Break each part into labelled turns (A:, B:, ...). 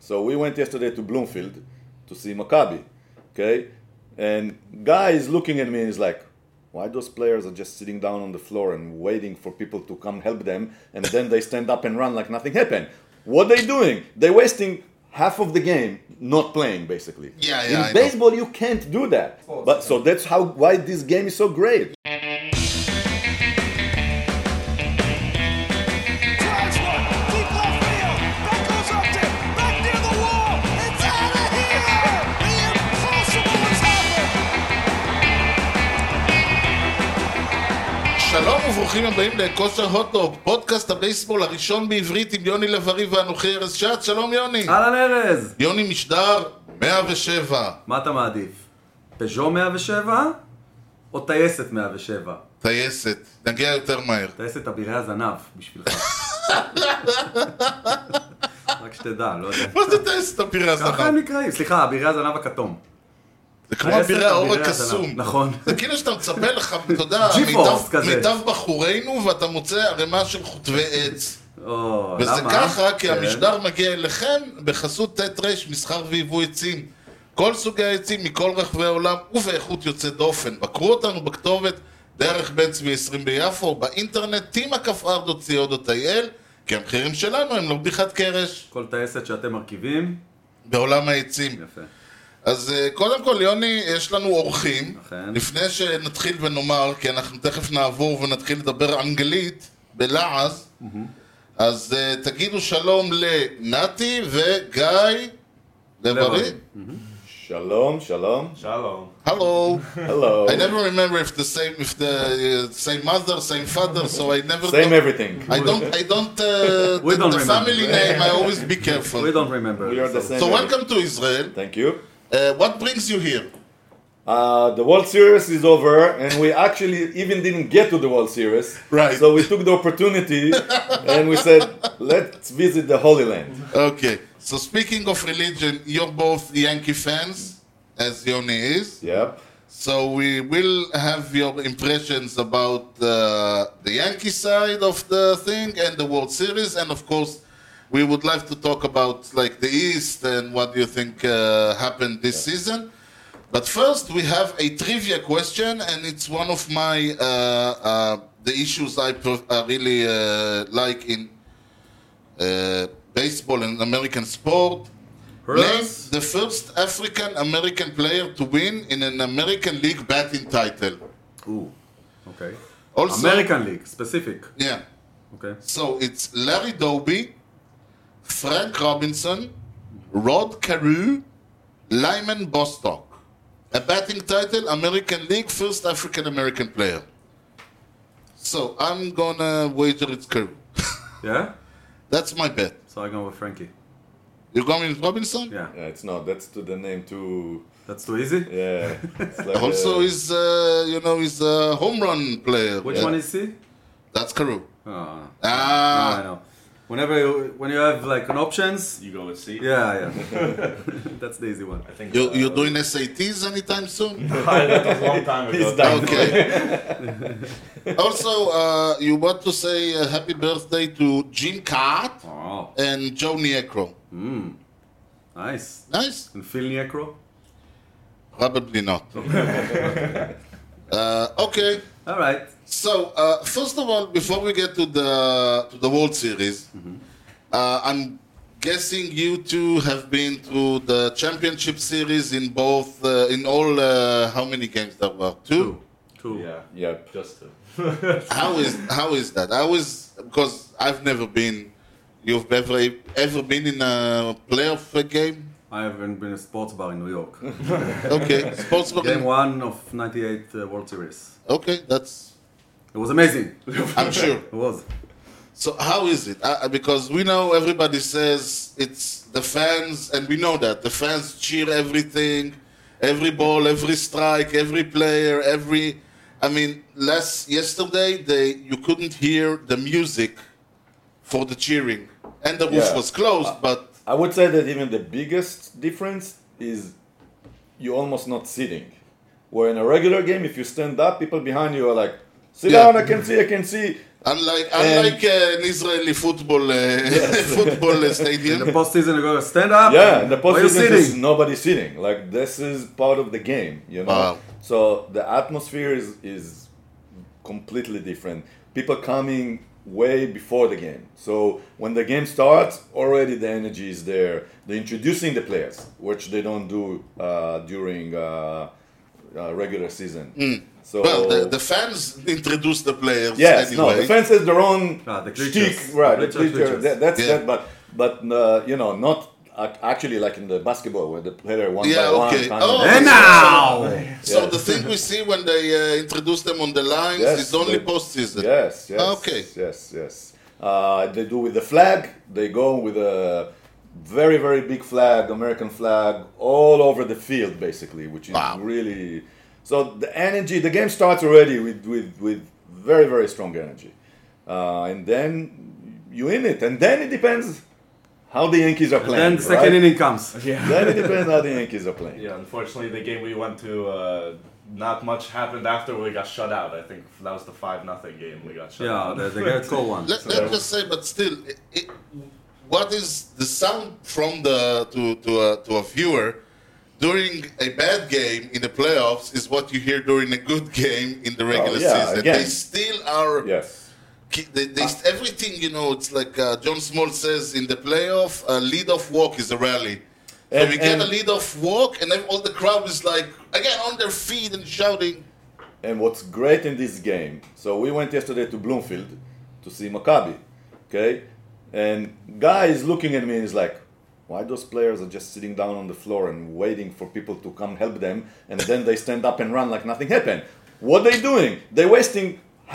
A: So we went yesterday to Bloomfield to see Maccabi, okay? And guy is looking at me and is like, why those players are just sitting down on the floor and waiting for people to come help them and then they stand up and run like nothing happened? What they doing? They're wasting half of the game not playing basically.
B: Yeah, yeah, I
A: In
B: know.
A: baseball you can't do that. But so that's how why this game is so great.
C: Drives one, deep left field. That goes up to, back near the wall. It's out of here. The impossible has happened.
B: שלום וברוכים הבאים לכושר הוטדוג, פודקאסט הבייסבול הראשון בעברית עם יוני לב-ארי ואנוכי ארז שץ, שלום יוני.
D: אהלן ארז!
B: יוני משדר 107,
D: מה אתה מעדיף? פז'ו 107 או טייסת 107?
B: טייסת, נגיע יותר מהר.
D: טייסת אבירי הזנב בשבילך. רק שתדע, לא יודע.
B: מה זה טייסת אבירי
D: ככה הם
B: הזנב?
D: נקראים, סליחה, אבירי הזנב הכתום.
B: זה כמו
D: טייסת
B: אבירי האור
D: אבירי הזנב,
B: הקסום.
D: נכון.
B: זה כאילו שאתה מצפה לך, אתה יודע,
D: ג'י-פורס
B: מיטב-
D: כזה.
B: מיטב בחורינו ואתה מוצא ערימה של חוטבי עץ.
D: או, לא, למה?
B: וזה ככה, כי
D: כן.
B: המשדר מגיע אליכם בחסות ט' ר' מסחר ויבוא עצים. כל סוגי העצים מכל רחבי העולם ובאיכות יוצאת דופן. בקרו אותנו בכתובת דרך בן צבי 20 ביפו, באינטרנט tima.co.il, כי המחירים שלנו הם לא בדיחת קרש
D: כל טייסת שאתם מרכיבים,
B: בעולם העצים.
D: יפה.
B: אז אה, קודם כל, יוני, יש לנו אורחים.
D: אכן.
B: לפני שנתחיל ונאמר, כי אנחנו תכף נעבור ונתחיל לדבר אנגלית בלעז, אז אה, תגידו שלום לנתי וגיא לב-ארי.
D: לב-ארי.
A: Shalom, shalom.
E: Shalom.
B: הלו.
A: Hello.
B: I never remember if the same, if the uh, same mother, same father, so I never...
A: Same
B: don't-
A: everything.
B: I don't, I don't, uh,
D: We don't
B: the family
D: remember.
B: name, I always be careful.
D: We don't remember.
A: We are the
D: So-
A: same.
B: So welcome to Israel.
A: Thank you.
B: Uh, what brings you here?
A: Uh, the World Series is over, and we actually even didn't get to the World Series.
B: Right.
A: So we took the opportunity, and we said, let's visit the Holy Land.
B: Okay, so speaking of religion, you're both Yankee fans, as Yoni is.
A: Yep.
B: So we will have your impressions about uh, the Yankee side of the thing and the World Series, and of course, we would like to talk about like the East and what do you think uh, happened this season. But first, we have a trivia question, and it's one of my uh, uh, the issues I per- I really uh, like in uh, baseball and American sport. Name
D: Hurts.
B: the first African American player to win in an American League batting title.
D: Ooh, אוקיי.
B: Also,
D: American League, ספציפיק.
B: yeah.
D: אוקיי.
B: So it's Larry Doby, Frank Robinson, Rod Carew, Lyman Bostock. A batting title, American League, first African American player. So I'm gonna wager it's Carew.
D: Yeah?
B: That's my bet.
D: So I go with Frankie.
B: You're going with Robinson?
D: Yeah.
A: Yeah, it's not. That's to the name too.
D: That's too easy?
A: Yeah. It's like,
B: Also,
A: uh,
B: is uh, you know, he's a home run player.
D: Which
B: Yeah.
D: one is he?
B: That's Carew.
D: Ah.
B: Ah,
D: I know. Whenever you, when you have like an options,
E: You go with C?
D: yeah, yeah, that's the easy one.
E: I think
B: you you're doing SATs anytime soon?
E: that was a long time ago.
A: He's done.
B: Okay. also, uh, you want to say uh, happy birthday to Jim Cart
D: Oh,
B: and Joe Niekro.
D: nice.
B: Nice?
D: And Phil Necro.
B: Probably not. uh, okay.
D: All right.
B: So uh, first of all, before we get to the to the World Series, uh, I'm guessing you two have been to the Championship Series in both uh, in all uh, how many games there were two.
D: Two. Two.
E: Yeah.
A: Yep.
E: Just to.
B: How is how is that? I was because I've never been. You've ever ever been in a playoff uh, game?
D: I haven't been a sports bar in New York.
B: Okay, sports book.
D: Game one of '98 uh, World Series.
B: Okay, that's
D: It was amazing.
B: I'm sure.
D: It was.
B: So how is it? Uh, because we know everybody says it's the fans, and we know that the fans cheer everything, every ball, every strike, every player, every. I mean, last yesterday they you couldn't hear the music for the cheering, and the roof
A: Yeah.
B: was closed. but
A: I would say that even the biggest difference is you almost not sitting. Where in a regular game, if you stand up, people behind you are like, sit
B: Yeah.
A: down, I can see, I can see.
B: Unlike, unlike uh, an Israeli football uh, football uh,
D: In
B: stadium.
D: the postseason, you go stand up.
A: Yeah, the
D: Why you
A: postseason is
D: sitting?
A: nobody sitting. Like this is part of the game, you know.
B: Wow.
A: So the atmosphere is is completely different. People coming way before the game. So when the game starts, already the energy is there. They're introducing the players, which they don't do uh, during uh, uh, regular season. So
B: Hmm. Well, the, the fans introduce the players
A: Yes,
B: anyway.
A: no, the fence is their own
D: Ah, the
A: shtick,
D: creatures.
A: right?
D: The
A: The
D: creatures,
A: creature,
D: creatures.
A: that- that's
B: Yeah.
A: that, but but uh, you know, not ac- actually like in the basketball where the player one
B: Yeah,
A: by one.
B: okay.
A: kind of-
B: Oh,
D: And now!
B: So
A: Yes.
B: the thing we see when they uh, introduce them on the lines
A: Yes,
B: is only
A: they-
B: postseason.
A: Yes, yes.
B: Okay.
A: Yes, yes. Uh, they do with the flag. They go with a very, very big flag, American flag, all over the field, basically, which is
B: Wow.
A: really. So the energy, the game starts already with, with, with very, very strong energy. Uh, and then you in it. And then it depends how the Yankees are playing.
D: Then the second
A: right?
D: inning comes.
A: Then it depends how the Yankees are playing.
E: Yeah, unfortunately, the game we went to, uh, not much happened after we got shut out. I think that was the 5 nothing game we got shut
D: Yeah,
E: out.
D: they, they get cold one.
B: Let, let's just say, but still, it, it, what is the sound from the to to a, to a viewer during a bad game in the playoffs is what you hear during a good game in the regular
A: Oh, yeah,
B: season.
A: again.
B: They still are.
A: Yes.
B: ki- They, they, everything you know, it's like uh, John Small says in the playoff, a lead-off walk is a rally. So
A: And-
B: we get a
A: and-
B: lead-off walk, and then all the crowd is like again on their feet and shouting.
A: And what's great in this game, so we went yesterday to Bloomfield to see Maccabi, okay? And guy is looking at me and he's like, why those players are just sitting down on the floor and waiting for people to come help them and then they stand up and run like nothing happened. What they doing? They're wasting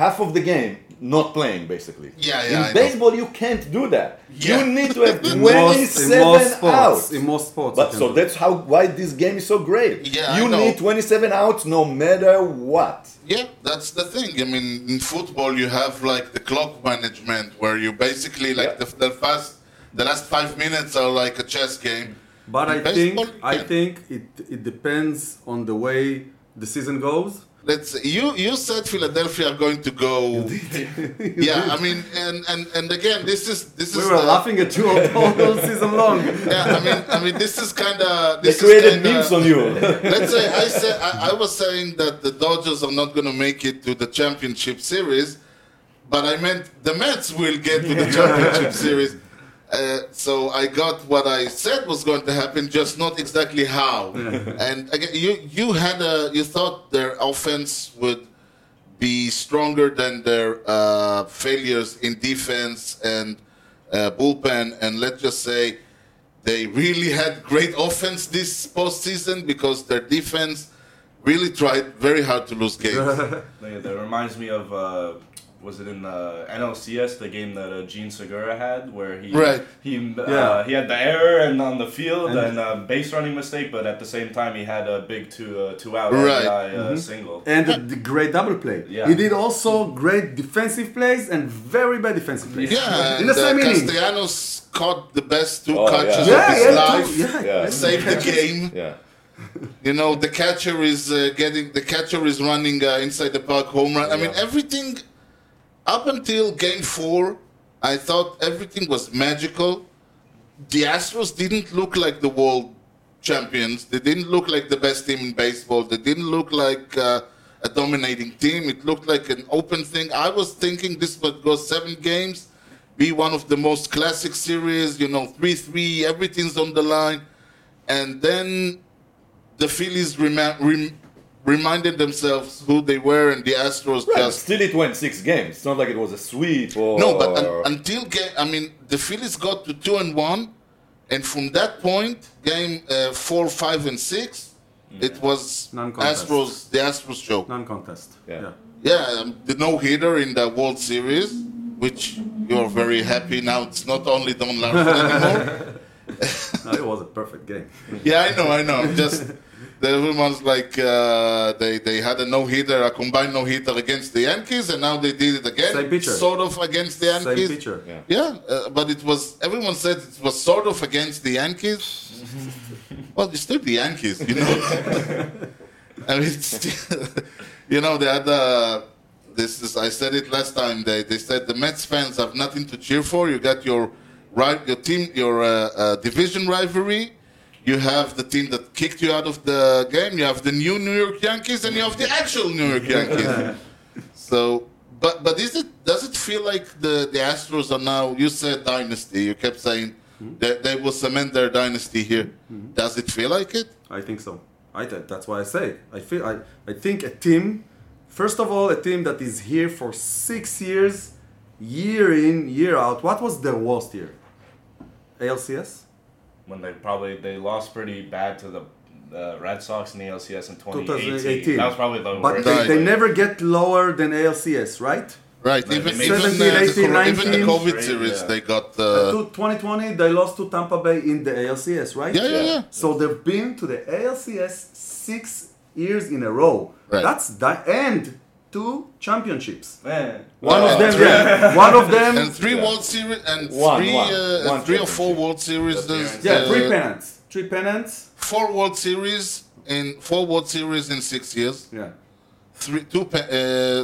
A: half of the game not playing basically.
B: Yeah, yeah, I know.
A: In baseball you can't do that.
B: Yeah.
A: You need to have
D: In most,
A: 27
D: in most sports.
A: outs.
D: In most sports.
A: But
D: you
A: so
D: can-
A: that's how why this game is so great.
B: Yeah, I
A: you
B: know.
A: need 27 outs no matter what.
B: Yeah, that's the thing. I mean, in football, you have like the clock management, where you basically like
A: Yeah.
B: the, the fast, the last five minutes are like a chess game.
D: But I
B: In
D: think
B: baseball,
D: I
B: yeah.
D: think it it depends on the way the season goes.
B: Let's you you said Philadelphia are going to go. yeah, I mean, and and and again, this is this
D: We
B: is
D: were
B: the-
D: laughing at you all, all season long.
B: Yeah, I mean, I mean, this is kind of
A: They
B: this is
A: created
B: kinda,
A: memes on you.
B: Let's say I said I, I was saying that the Dodgers are not going to make it to the championship series, but I meant the Mets will get to the championship series. Uh, so I got what I said was going to happen, just not exactly how. and again, you you had a you thought their offense would be stronger than their uh, failures in defense and uh, bullpen, and let's just say they really had great offense this postseason because their defense really tried very hard to lose games.
E: They- that reminds me of, uh, was it in uh, NLCS, the game that uh, Gene Segura had, where he
B: Right.
E: he uh,
D: Yeah.
E: he had the error and on the field
D: And-
E: and, uh, base running mistake, but at the same time he had a big two uh, two out
B: Right.
E: RBI,
D: Mm-hmm.
E: uh, single.
D: And the, the great double play.
E: Yeah.
D: He did also great defensive plays and very bad defensive plays.
B: Yeah,
D: in the
B: and, uh,
D: same inning.
B: Castellanos caught the best two
A: Oh,
B: catches
A: yeah.
B: of
D: Yeah,
B: his
D: yeah,
B: life.
D: two, yeah,
A: Yeah.
B: Saved the game.
A: yeah.
B: You know, the catcher is uh, getting the catcher is running uh, inside the park home run. I mean,
A: Yeah.
B: everything up until game four, I thought everything was magical. The Astros didn't look like the world champions. They didn't look like the best team in baseball. They didn't look like uh, a dominating team. It looked like an open thing. I was thinking this would go seven games, be one of the most classic series. You know, three-three, everything's on the line, and then the Phillies rema- rem- reminded themselves who they were, and the Astros
A: Right.
B: just
A: Still, it went six games. It's not like it was a sweep or.
B: no. But un- until game, I mean, the Phillies got to two and one, and from that point, game uh, four, five, and six, it was
D: Non-contest.
B: Astros, the Astros show.
D: Non-contest.
A: Yeah.
B: Yeah, um, the no hitter in the World Series, which you are very happy now. It's not only Don Larson anymore.
D: No, it was a perfect game.
B: yeah, I know, I know. I'm Just everyone's like uh, they they had a no hitter, a combined no hitter against the Yankees, and now they did it again,
D: Same pitcher.
B: sort of against the
D: Same
B: Yankees.
D: pitcher.
A: Yeah.
B: Yeah, uh, but it was everyone said it was sort of against the Yankees. well, it's still the Yankees, you know. I mean, it's still, you know, they had uh, This is I said it last time. They they said the Mets fans have nothing to cheer for. You got your right your team your uh, uh, division rivalry. You have the team that kicked you out of the game. You have the new New York Yankees, and you have the actual New York Yankees. so, but but is it does it feel like the the Astros are now? You said dynasty. You kept saying that they will cement their dynasty here. Does it feel like it?
D: I think so. I th- that's why I say I feel I, I think a team, first of all, a team that is here for six years, year in year out. What was their worst year? ALCS.
E: when they probably they lost pretty bad to the uh, Red Sox in the LCS in 2018.
D: 2018.
E: That was probably the
D: But
E: worst.
D: they, they
B: Right.
D: never get lower than ALCS, right?
B: Right,
E: Like
B: even,
E: the
B: even, uh,
D: 17,
B: the,
D: 18,
B: cor- even the
D: 19.
B: COVID
E: Right,
B: series,
E: yeah.
B: they got.
D: Uh,
B: Uh,
D: to 2020, they lost to Tampa Bay in the ALCS, right?
B: yeah, yeah, yeah.
D: So they've been to the ALCS six years in a row.
B: Right.
D: That's the and two championships.
E: Man,
D: One
B: Wow.
D: of them, yeah. One of them,
B: And three
A: Yeah.
B: World Series and
A: One,
B: three,
A: one,
B: uh,
A: one
B: three or four World Series. there's,
D: yeah, three
B: uh,
D: pennants, three pennants,
B: Four World Series in four World Series in six years.
D: yeah,
B: Three, two, pa- uh,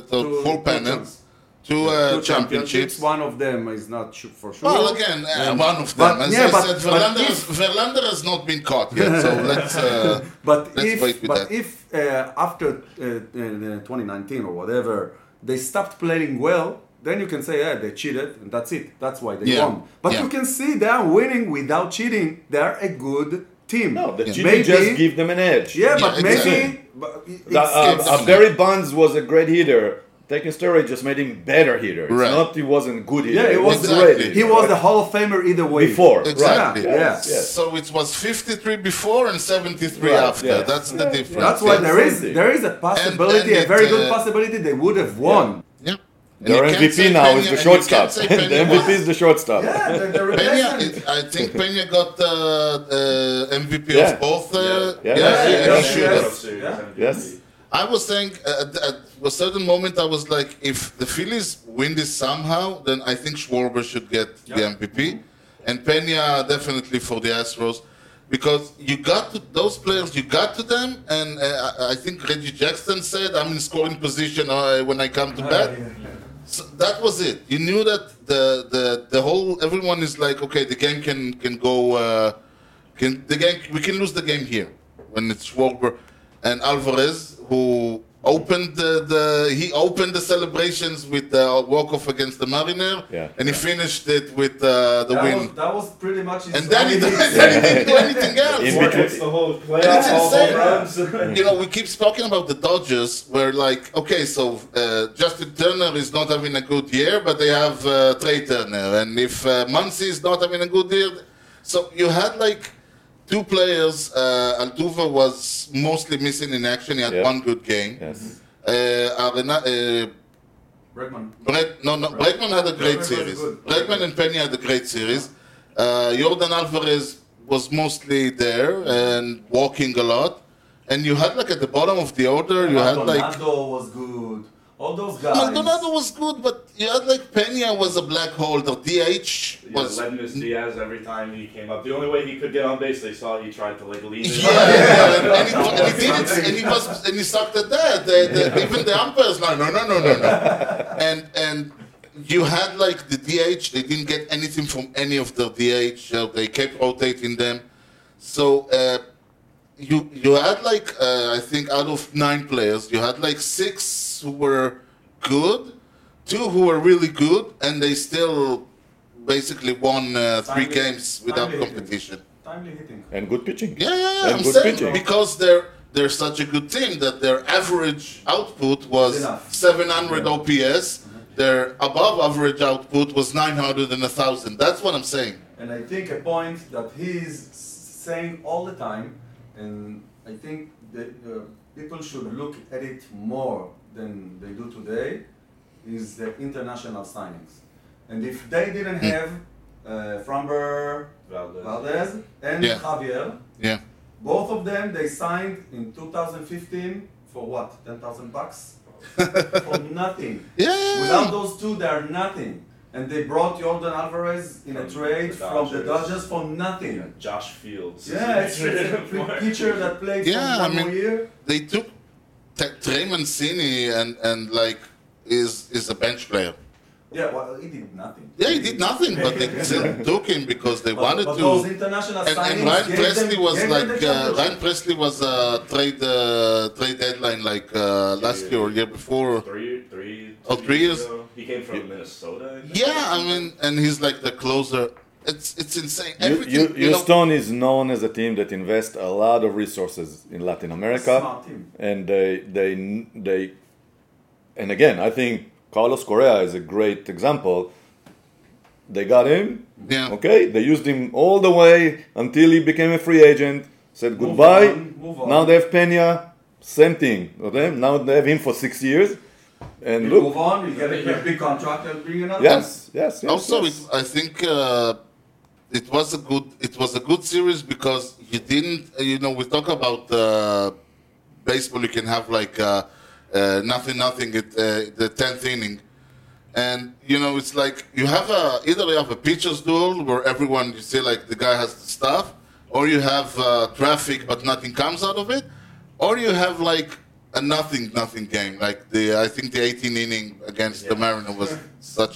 B: so
D: Two-
B: four
D: two
B: pennants,
D: champs.
B: two, uh, championships.
D: One of them is not su- for sure.
B: Well, again, uh,
D: And-
B: one of them.
D: but-
B: As
D: yeah,
B: I
D: but-
B: said,
D: but
B: Verlander,
D: if-
B: has- Verlander has not been caught yet, so let's. Uh,
D: But
B: Let's
D: if,
B: wait with
D: but
B: that.
D: if uh, after uh, uh, 2019 or whatever they stopped playing well, then you can say, yeah, they cheated, and that's it. That's why they
B: Yeah.
D: won. But
B: Yeah.
D: you can see they are winning without cheating. They are a good team.
A: No, the cheating
D: maybe,
A: just give them an edge.
D: yeah, but
B: Yeah,
D: maybe.
B: exactly.
D: But it's,
A: The, uh,
D: it's-
A: uh, Barry Bonds was a great hitter. Taking steroid just made him better hitter. It's
B: Right.
A: not he wasn't good hitter.
D: yeah, it
A: he
D: was
B: Exactly.
D: great. He was the Hall of Famer either way.
A: before. Right.
B: exactly.
D: Yeah, yeah.
A: Yes.
B: So it was 53 before and 73
A: Right,
B: after.
A: yeah.
B: That's the difference.
D: That's why
A: Yeah.
D: there is there is a possibility,
B: and
D: a very
B: it,
D: good
B: uh,
D: possibility they would have won.
B: Yeah. And
A: Their
B: you can't say
A: MVP now
B: Peña-
A: is the
B: and you
A: shortstop.
B: can't say
A: the
B: Peña
A: MVP
B: was-
A: is the shortstop.
D: Yeah, the, the
B: Peña,
D: replacement.
B: it- I think Peña got the uh, MVP
A: Yeah.
B: of both. Uh,
A: Yeah. Yeah,
B: yeah, yeah,
A: yeah,
B: he should have.
D: yeah.
A: Yes.
B: I was saying uh, at, at a certain moment, I was like, if the Phillies win this somehow, then I think Schwarber should get the MVP, and Pena definitely for the Astros, because you got to those players, you got to them, and uh, I I think Reggie Jackson said, "I'm in scoring position uh, when I come
D: Oh,
B: to bat." So that was it. You knew that the the the whole everyone is like, okay, the game can can go, uh, can the game we can lose the game here when it's Schwarber and Alvarez who opened the, the he opened the celebrations with the walk off against the Mariner,
A: Yeah.
B: and he finished it with uh, the
D: That
B: win.
D: was, that was pretty much his
B: and then he,
D: only-
B: then he didn't do anything else.
A: In
E: Or
A: between-
E: hits the whole
B: That's
E: playoff, all
B: insane.
E: home runs.
B: You know, we keep talking about the Dodgers, where like, okay, so uh, Justin Turner is not having a good year, but they have uh, Trey Turner, and if uh, Muncy is not having a good year, so you had like two players. Uh, Altuve was mostly missing in action. He had
A: Yeah.
B: one good game.
A: Yes.
B: Uh, Arena, uh,
D: Bregman.
B: Brett, no, no, Bregman had a great
D: Bregman was
B: series.
D: good.
B: Bregman and Penny had a great series. Uh, Jordan Alvarez was mostly there and walking a lot. And you had like at the bottom of the order, you had like
D: Maldonado was good. All those guys.
B: Maldonado was good, but you had like Pena was a black hole. The DH
E: Yeah,
B: was
E: Ledmus Diaz every time he came up. The only way he could get on base, they saw he tried to like lead it.
B: Yeah, yeah, yeah. And, he, and he did it, and he was, and he sucked at that. The, the, even the umpires, no, no, no, no, no, no. And and you had like the DH. They didn't get anything from any of the DH. So they kept rotating them. So uh, you you had like uh, I think out of nine players, you had like six who were good, two who were really good, and they still basically won uh, three
D: Timely-
B: games without
D: timely.
B: competition.
D: Timely hitting.
A: And good pitching.
B: Yeah, yeah, yeah.
A: And
B: I'm
A: good
B: saying
A: pitching.
B: because they're they're such a good team that their average output was
D: Enough.
B: 700 OPS. Their above average output was 900 and 1000. That's what I'm saying.
D: And I think a point that he's saying all the time, and I think that uh, people should look at it more than they do today, is the international signings. And if they didn't have uh, Framber,
E: Valdez.
D: Valdez, and
B: Yeah.
D: Javier,
B: Yeah.
D: both of them they signed in 2015 for what? 10,000 bucks? for nothing.
B: Yeah, yeah, yeah.
D: Without those two, they are nothing. And they brought Jordan Alvarez in a
E: From
D: trade
E: the
D: from the
E: Dodgers.
D: Dodgers for nothing.
E: Josh Fields.
D: Yeah, it's it's a pitcher that played
B: Yeah,
D: for
B: I
D: one
B: mean-
D: more year.
B: They took T- Trey Mancini and, and like is is a bench player.
D: Yeah, well, he did nothing.
B: Yeah, he did nothing, but they still took him because they
D: But-
B: wanted
D: but
B: to.
D: those international
B: and, and
D: signings
B: Ryan
D: gave
B: Presley
D: them-
B: was
D: gave them the
B: like uh,
D: championship.
B: Ryan Presley was uh, trade uh, trade deadline like uh, last year or year before.
E: Three, three,
B: Oh,
E: two
B: three years?
E: ago. He came from Minnesota. I think.
B: Yeah, I mean, and he's like the closer. It's it's insane.
A: You,
B: Everything,
A: you,
B: you know,
A: Houston is known as a team that invests a lot of resources in Latin America,
D: Smart team.
A: and they they they, and again, I think Carlos Correa is a great example. They got him,
B: yeah,
A: okay. They used him all the way until he became a free agent. Said
D: Move
A: goodbye.
D: on, move on.
A: Now they have Pena. Same thing. Okay? Now they have him for six years, and
D: You
A: look,
D: move on, you get a big contract, and bring another.
A: yes, yes, yes.
B: also
A: yes.
B: it, i think uh, it was a good it was a good series because you didn't uh, you know we talk about uh, baseball you can have like uh, uh, nothing nothing at uh, the 10th inning and you know it's like you have a either you have a pitchers duel where everyone you see like the guy has the stuff or you have uh, traffic but nothing comes out of it or you have like a nothing nothing game like the i think the 18 inning against the mariner was such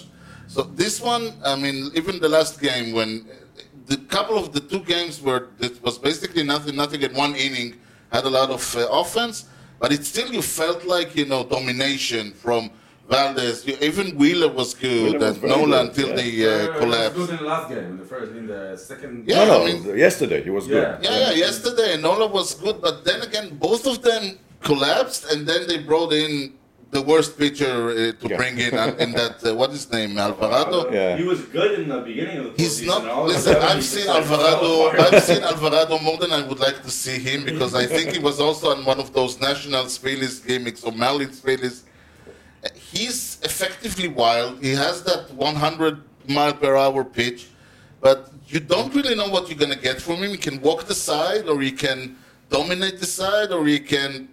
B: so this one i mean even the last game when the couple of the two games where it was basically nothing nothing in one inning had a lot of uh, offense, but it still you felt like you know domination from Valdez. You, even Wheeler was good
A: Wheeler was
B: and
A: very
B: Nola
A: good,
B: until
A: yeah.
B: they uh,
D: Uh,
B: collapsed.
D: Good in the last game, in the first, in the second.
B: Yeah.
A: no, no.
B: I mean-
A: yesterday he was good.
D: Yeah.
B: Yeah, yeah. Yesterday Nola was good, but then again both of them collapsed, and then they brought in the worst pitcher uh, to
A: Yeah.
B: bring in uh, in that uh, what is his name Alvarado.
A: Yeah.
E: He was good in the beginning of the
B: He's not.
E: postseason. All of a
B: Listen,
E: sudden,
B: I've
E: he's
B: seen
E: just, like,
B: Alvarado.
E: fell apart.
B: I've seen Alvarado more than I would like to see him because I think he was also on one of those national Spanish gimmicks or Malin Spanish. He's effectively wild. He has that 100 mile per hour pitch, but you don't really know what you're gonna get from him. He can walk the side, or he can dominate the side, or he can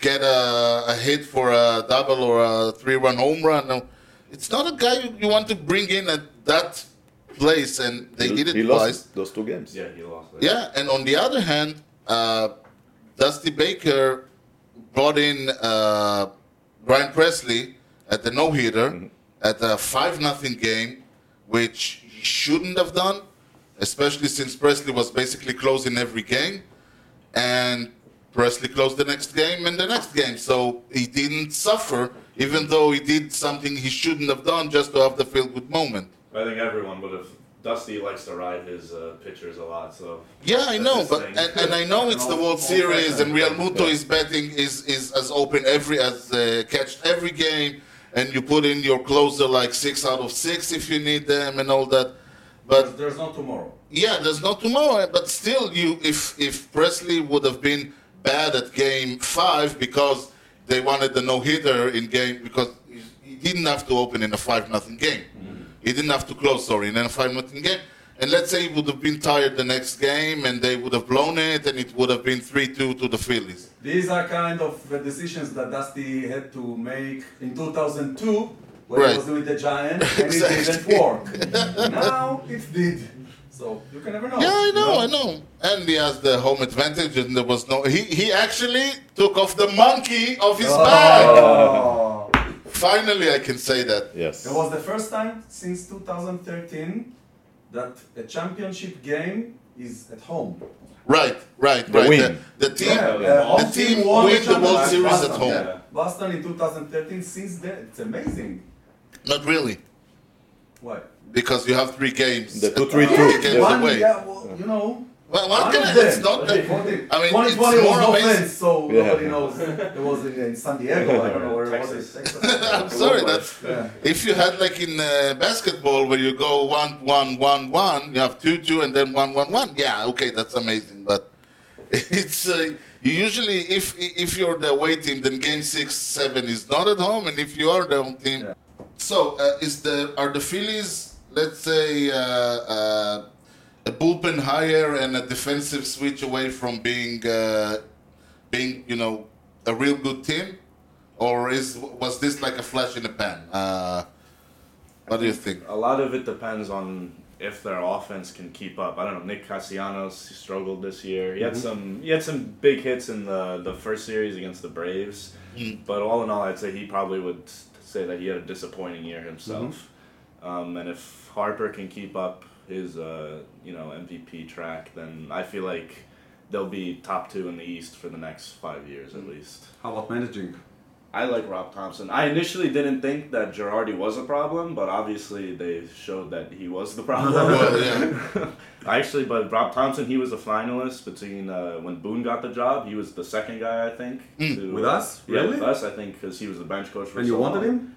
B: get a, a hit for a double or a three run home run. No, It's not a guy you, you want to bring in at that place, and they
A: He,
B: did it
A: he
B: twice.
A: lost those two games.
E: Yeah, he lost. it.
B: Yeah, and on the other hand, uh, Dusty Baker brought in uh, Brian Presley at the no hitter at a 5 nothing game, which he shouldn't have done, especially since Presley was basically closing every game. And Presley closed the next game and the next game. So he didn't suffer, even though he did something he shouldn't have done just to have the feel good moment.
E: I think everyone would have. Dusty likes to ride his uh, pitchers a lot, so
B: Yeah, I
E: That's
B: know,
E: his
B: but
E: thing.
B: and, and I know it's the World Series, and Real Muto is betting is is as open every as uh, catched every game, and you put in your closer like six out of six if you need them and all that. But
D: But there's no tomorrow.
B: yeah, there's no tomorrow. eh, But still, you if if Presley would have been bad at game five because they wanted the no hitter in game because he- he didn't have to open in a five nothing game. He didn't have to close. Sorry, in a five nothing game. And let's say he would have been tired the next game, and they would have blown it, and it would have been three two to the Phillies.
D: These are kind of the decisions that Dusty had to make in 2002 when
B: Right.
D: he was doing the Giant, and it didn't
B: Exactly.
D: work. now it did. So you can never know.
B: Yeah, I
D: you
B: know, I know. And he has the home advantage, and there was no. He he actually took off the monkey of his back.
D: Oh.
B: Finally, I can say that.
A: Yes.
D: It was the first time since 2013 that a championship game is at home.
B: Right, right, right.
A: win.
B: The, the team,
E: the
D: home
B: team
D: won
B: win the World
D: championship.
B: Series at
D: Boston,
B: home.
D: yeah. Boston in 2013. Since then, it's amazing.
B: not really,
D: Why?
B: because you have three games.
A: The
B: at-
A: two, three,
B: at
A: two.
B: the games
A: Yeah.
D: One,
B: away.
D: yeah, well, you know.
B: Well,
D: one
B: one
D: of
B: can,
D: them.
B: it's not.
D: What did-
B: I mean,
D: 2020
B: it's
D: was
B: more
D: no
B: amazing.
D: fence, so
A: Yeah.
D: nobody knows. It was in, in San Diego. I don't know where it was. in
E: Texas.
B: I'm
D: Texas.
B: sorry, that's
D: Yeah.
B: if you had like in uh, basketball where you go one, one, one, one, you have two, two, and then one, one, one. Yeah, okay, that's amazing, but it's uh, you usually if if you're the away team, then game six, seven is not at home, and if you are the home team,
D: Yeah.
B: so uh, is the are the Phillies, let's say. Uh, uh, a bullpen higher and a defensive switch away from being uh, being you know a real good team, or is was this like a flash in the pan? Uh, what do you think?
E: a lot of it depends on if their offense can keep up. I don't know. Nick Cassianos he struggled this year. He had
B: Mm-hmm.
E: some he had some big hits in the the first series against the Braves, but all in all, I'd say he probably would s- say that he had a disappointing year himself.
B: Mm-hmm.
E: Um, and if Harper can keep up his uh, you know MVP track, then I feel like they'll be top two in the East for the next five years
B: Mm-hmm.
E: at least.
D: How about managing?
E: I like Rob Thompson. I initially didn't think that Girardi was a problem, but obviously they showed that he was the problem.
B: Well, yeah.
E: Actually, but Rob Thompson, he was a finalist between uh, when Boone got the job. He was the second guy, I think. to-
D: Hmm. With us?
E: Yeah,
D: Really?
E: with us, I think, because he was the bench coach for
D: And you
E: so
D: wanted
E: long.
D: him?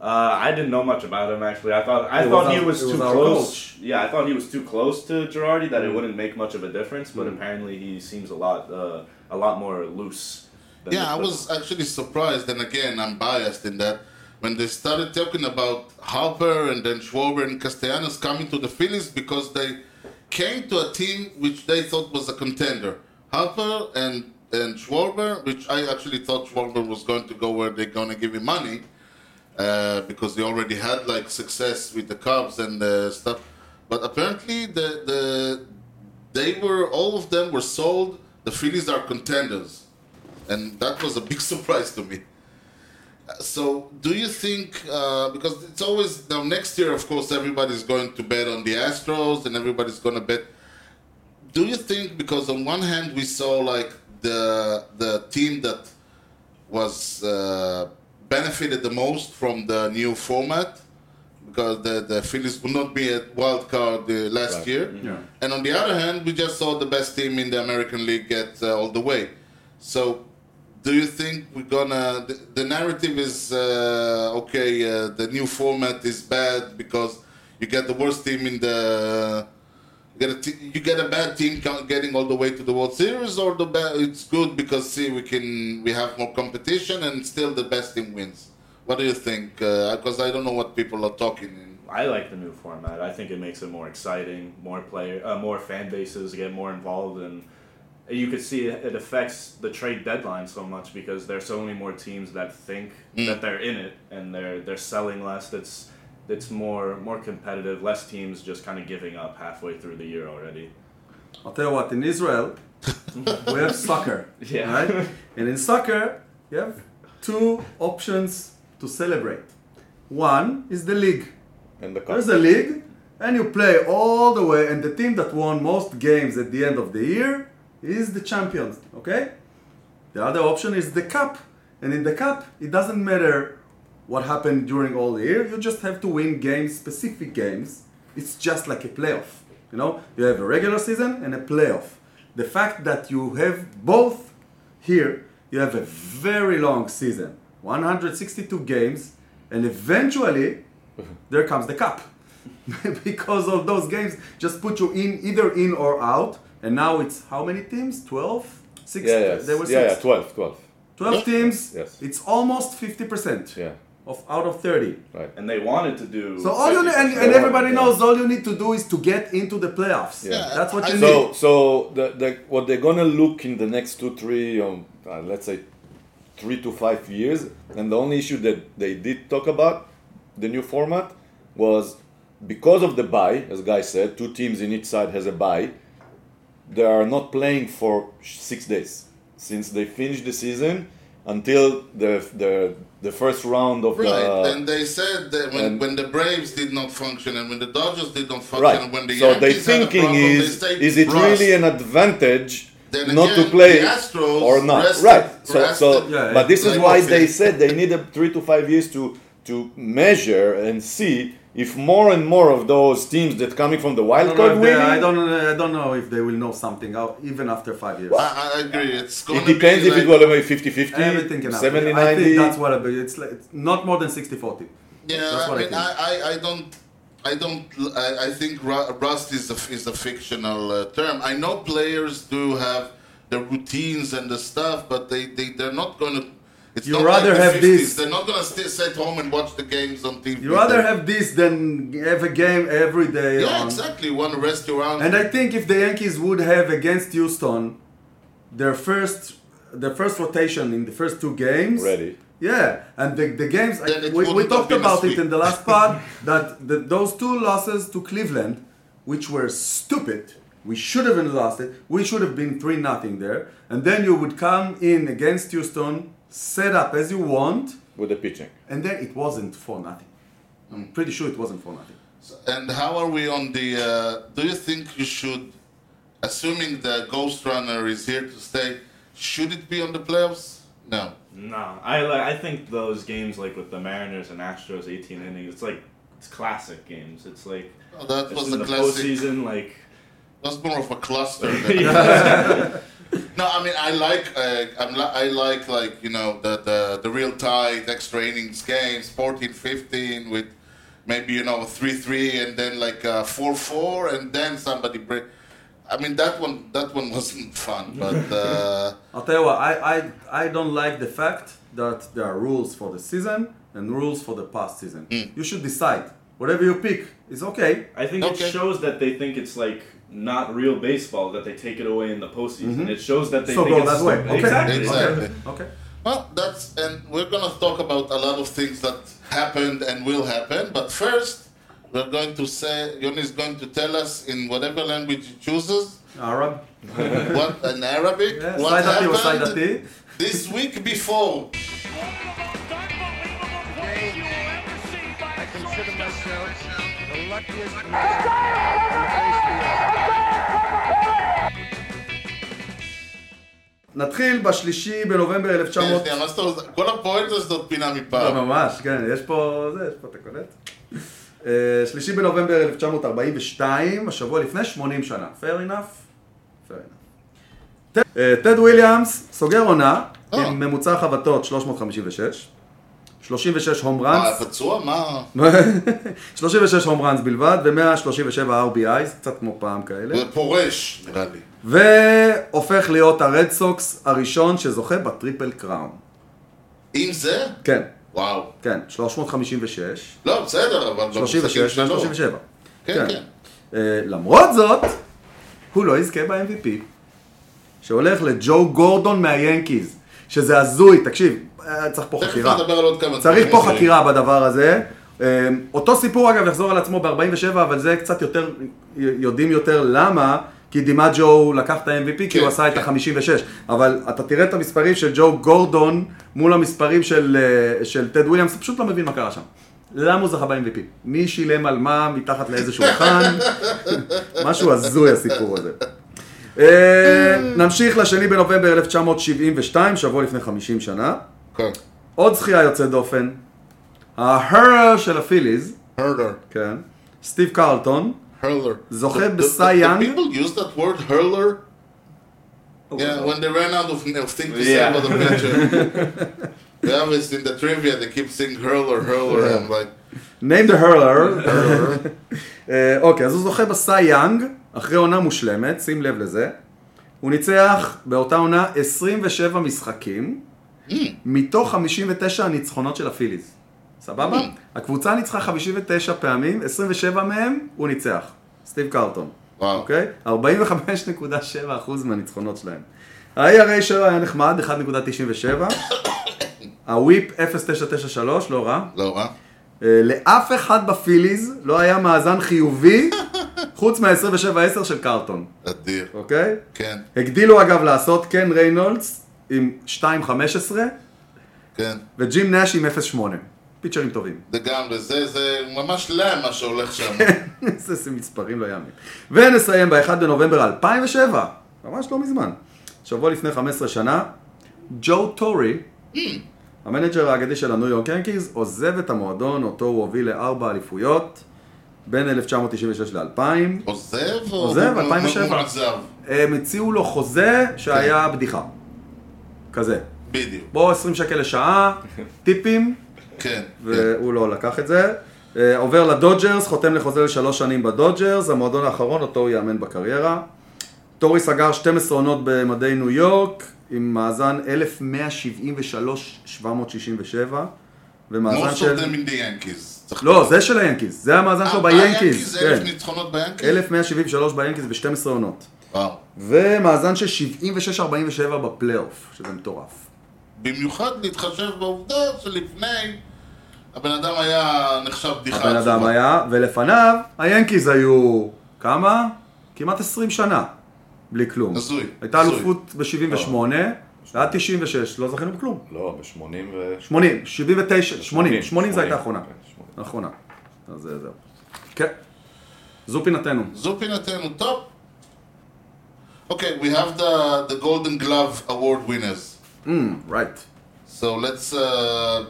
E: Uh, I didn't know much about him actually. I thought I
D: It
E: thought
D: was
E: he
D: our-
E: was
D: it
E: too
D: was our Hmm.
E: close. Yeah, I thought he was too close to Girardi that it wouldn't make much of a difference. But
D: Mm.
E: apparently, he seems a lot uh, a lot more loose. Than
B: Yeah, I
E: the-
B: was actually surprised, and again, I'm biased in that when they started talking about Harper and then Schwarber and Castellanos coming to the Phillies because they came to a team which they thought was a contender. Harper and and Schwarber, which I actually thought Schwarber was going to go where they're going to give him money uh, because they already had like success with the Cubs and uh, stuff. But apparently, the the they were all of them were sold. The Phillies are contenders and that was a big surprise to me. Uh, So, do you think uh, because it's always now next year, of course, everybody's going to bet on the Astros and everybody's going to bet. Do you think because on one hand we saw like the the team that was uh, benefited the most from the new format because the the Phillies would not be at wild card uh, last
A: Right.
B: year,
D: Yeah.
B: and on the other hand, we just saw the best team in the American League get uh, all the way. So, do you think we're gonna? The, the narrative is uh, okay. Uh, the new format is bad because you get the worst team in the. You get a, t- you get a bad team co- getting all the way to the World Series, or the ba- it's good because see we can we have more competition and still the best team wins. What do you think? Because I don't know what people are talking. In.
E: I like the new format. I think it makes it more exciting. More player, uh, more fan bases get more involved, and you could see it affects the trade deadline so much because there's so many more teams that think
B: Mm.
E: that they're in it and they're they're selling less. It's it's more more competitive. Less teams just kind of giving up halfway through the year already.
D: I'll tell you what, in Israel, we have soccer.
E: Yeah.
D: Right? And in soccer, you have two options to celebrate. One is the league.
A: And the cup.
D: There's a league, and you play all the way, and the team that won most games at the end of the year is the champions, okay? The other option is the cup. And in the cup, it doesn't matter what happened during all the year, you just have to win games, specific games. It's just like a playoff. You know, you have a regular season and a playoff. The fact that you have both here, you have a very long season 162 games, and eventually there comes the cup. because of those games, just put you in either in or out. And now it's how many teams? 12? 6?
A: yeah, yeah,
D: There were
A: yeah, yeah,
D: six.
A: 12, 12.
D: 12 teams,
A: Yes.
D: it's almost 50%
A: Yeah,
D: of out of 30.
A: right.
E: And they wanted to do.
D: So all you need, and,
E: 50%.
D: and everybody knows all you need to do is to get into the playoffs.
A: Yeah.
D: That's what you
A: So,
D: need.
A: so the, the, what they're gonna look in the next two, three, um, uh, let's say, three to five years, and the only issue that they did talk about the new format was because of the buy, as Guy said, two teams in each side has a buy. They are not playing for sh- six days since they finished the season until the the, the first round of
B: Right,
A: the
B: and they said that when,
A: and-
B: when the Braves did not function and when the Dodgers did not function
A: Right.
B: and when the
A: so they
B: Yankees had a
A: thinking
B: problem,
A: is
B: they stayed
A: is it
B: rust.
A: really an advantage
B: Then
A: not
B: again,
A: to play
B: the Astros
A: or not?
B: rested-
A: right. So so
B: rested-
D: Yeah,
A: but this is
B: like
A: why
B: Murphy.
A: they said they need a 3 to 5 years to to measure and see if more and more of those teams that coming from the
D: I
A: wild
D: don't, know
A: card
D: if they, I,
A: winning
D: don't, I don't know if they will know something out even after five years.
B: I, I agree. It's going
A: it depends if it will be 50-50,
D: Everything can happen.
A: 70-90.
D: I think that's what I believe. It's, like, it's not more than 60 40.
B: Yeah, I
D: That's what I
B: mean,
D: think.
B: I, I, I don't, I don't, I, I think ru- rust is a, is a fictional uh, term. I know players do have their routines and the stuff, but they, they they're not going to. It's
D: You
B: not
D: rather
B: like the
D: have
B: 50s.
D: this.
B: They're not going to stay sit home and watch the games on TV.
D: You rather have this than have a game every day.
B: Yeah,
D: on.
B: exactly. One restaurant.
D: And I think if the Yankees would have against Houston their first their first rotation in the first two games
A: Ready.
D: Yeah, and the, the games
B: Then it
D: we, we
B: wouldn't
D: talked
B: have been a
D: about it
B: sweep.
D: in the last part that the, those two losses to Cleveland, which were stupid, we should have been lost it. We should have been three nothing there, and then you would come in against Houston, set up as you want,
A: with the pitching.
D: And then it wasn't for nothing. I'm pretty sure it wasn't for nothing.
B: And how are we on the? Uh, do you think you should, assuming the Ghost Runner is here to stay, should it be on the playoffs? No.
E: No, I like. I think those games like with the Mariners and Astros, eighteen innings. It's like it's classic games. It's like
B: Oh, that
E: it's
B: was
E: in
B: a
E: the
B: classic.
E: postseason. Like
B: That's more of a cluster. Than
E: yeah,
B: No, I mean I like uh, I'm li- I like like you know the the, the real tight extra innings games 14-15 with maybe you know three three and then like uh, four four and then somebody break. I mean that one that one wasn't fun, but uh,
D: I'll tell you what, I, I, I don't like the fact that there are rules for the season and rules for the past season.
B: Hmm.
D: You should decide. Whatever you pick is okay.
E: I think
B: Okay.
E: it shows that they think it's like not real baseball that they take it away in the postseason. It shows that they
D: So
E: think
D: go
E: it's
D: that way. Okay.
E: Exactly.
B: Mm-hmm. Exactly.
D: Okay.
B: well that's and we're gonna talk about a lot of things that happened and will happen. But first, we're going to say Yoni is going to tell us in whatever language he chooses
D: Arab.
B: what in Arabic
D: Yeah,
B: what
D: Saidati or
B: happened
D: Saidati.
B: this week before.
F: I consider myself the luckiest man.
D: נתחיל בשלישי בנובמבר
B: שנייה,
D: 1900...
B: שנייה, מה זאת אומרת? כל הפואנטה הזאת פינה
D: לא,
B: מפעם.
D: ממש, כן, יש פה... זה, יש פה, אתה קולט? אה, שלישי בנובמבר 1942, השבוע לפני 80 שנה. Fair enough? Fair enough. ט- אה, טד וויליאמס סוגר עונה
B: אה.
D: עם ממוצע חבטות 356, 36 הום
B: אה,
D: ראנס,
B: פצוע? מה?
D: 36 הום ראנס בלבד ו-137 RBI, קצת כמו פעם כאלה,
B: זה פורש, נראה לי.
D: והופך להיות הרד סוקס הראשון שזוכה בטריפל קראון.
B: עם זה?
D: כן,
B: וואו.
D: כן, 356.
B: לא, בסדר, אבל... במשחקים
D: 36
B: שלו.
D: ו-37.
B: לא. כן, כן.
D: אה, למרות זאת, הוא לא יזכה ב-MVP, שהולך לג'ו גורדון מהיאנקיז, שזה הזוי, תקשיב, אה, צריך פה
B: תכף
D: חקירה.
B: נדבר על עוד כמה
D: צריך
B: דברים
D: פה
B: הזויים.
D: חקירה בדבר הזה. אה, אותו סיפור אגב יחזור על עצמו ב-47, אבל זה קצת יותר, יודעים יותר למה, כי דימג'ו לקח את ה-MVP כי
B: כן,
D: הוא עשה את
B: כן.
D: ה-56, אבל אתה תראה את המספרים של ג'ו גורדון מול המספרים של, אה, של טד וויליאמס, אתה פשוט לא מבין מה קרה שם. למה הוא זכה ב-MVP? מי שילם על מה מתחת לאיזה שולחן? משהו הזוי הסיפור הזה. אה, נמשיך לשני בנובמבר 1972, שבוע לפני 50 שנה.
B: כן.
D: עוד זכייה יוצאת דופן, ההרר של הפיליז,
B: הרלר.
D: כן, סטיב קרלטון,
B: הרלר.
D: זוכה
B: The- the-
D: בסי
B: the
D: יאנג?
B: people use that word, הרלר?
D: Oh.
B: Yeah, when they ran out of, of things to say
E: Yeah.
B: about the pitcher. They always in the trivia, they keep saying hurler, hurler. I'm like,
D: name the hurler, אה, אוקיי, אז הוא זוכה בסי יאנג, אחרי עונה מושלמת, שים לב לזה, הוא ניצח באותה עונה 27 משחקים, מתוך 59 הניצחונות של הפיליז, סבבה? הקבוצה ניצחה 59 פעמים, 27 מהם הוא ניצח, סטיב קרלטון.
B: וואו.
D: אוקיי? 45.7% מהניצחונות שלהם. ה-ERA שלו היה נחמד, 1.97. הוויפ 0.993, לא רע.
B: לא רע.
D: אה, לאף אחד בפיליז לא היה מאזן חיובי, חוץ מה-27.10 של קרטון,
B: אדיר.
D: אוקיי?
B: כן,
D: הגדילו אגב לעשות קן ריינולדס עם 2.15
B: כן.
D: וג'ים נאש עם 0.8. פיצ'רים טובים.
B: לגמרי, זה, זה ממש להם מה שהולך שם.
D: כן. איזה מספרים לא יאמן. ונסיים ב-1 בנובמבר 2007, ממש לא מזמן, שבוע לפני 15 שנה, ג'ו טורי, המנג'ר האגדי של הניו יורק ינקיז, עוזב את המועדון, אותו הוא הוביל לארבע אליפויות, בין 1996 ל-2000.
B: עוזב או...
D: עוזב,
B: הוא-
D: 2007.
B: הוא עזב,
D: הם הציעו לו חוזה שהיה
B: כן.
D: בדיחה. כזה.
B: בדיוק.
D: בוא 20 שקל לשעה, טיפים,
B: כן.
D: והוא לא לקח את זה. אה, עובר לדודג'רס, חותם לחוזה לשלוש שנים בדודג'רס, המועדון האחרון, אותו הוא יאמן בקריירה. טורי סגר 12 עונות במדי ניו יורק, עם מאזן 1173,767, ומאזן
B: most of
D: של...
B: them in the Yankees. צריך-
D: לא, זה של היאנקיז, זה המאזן שלו
B: אה,
D: ביאנקיז,
B: אלף
D: כן.
B: ניצחונות ביאנקיז?
D: 1173 ביאנקיז ב-12 עונות.
B: וואו.
D: ומאזן של 76-47 בפלייאוף, שזה מטורף.
B: במיוחד להתחשב בעובדה שלפני הבן אדם היה נחשב בדיחה.
D: הבן אדם
B: עצובה.
D: היה, ולפניו היאנקיז היו כמה? כמעט 20 שנה, בלי כלום.
B: הזוי,
D: הייתה
B: הזוי. לא.
D: אלופות ב-78, עד 96 לא זכינו בכלום.
A: לא, ב-80 ו...
D: 80, 79, 80,
A: 80,
D: 80 זו הייתה האחרונה.
A: כן, 80.
D: האחרונה. אז אה, זהו. כן. זו פינתנו.
B: זו פינתנו, טוב. Okay, אוקיי, we have the, the Golden Glove Award winners.
D: Mm, Right.
B: So let's uh,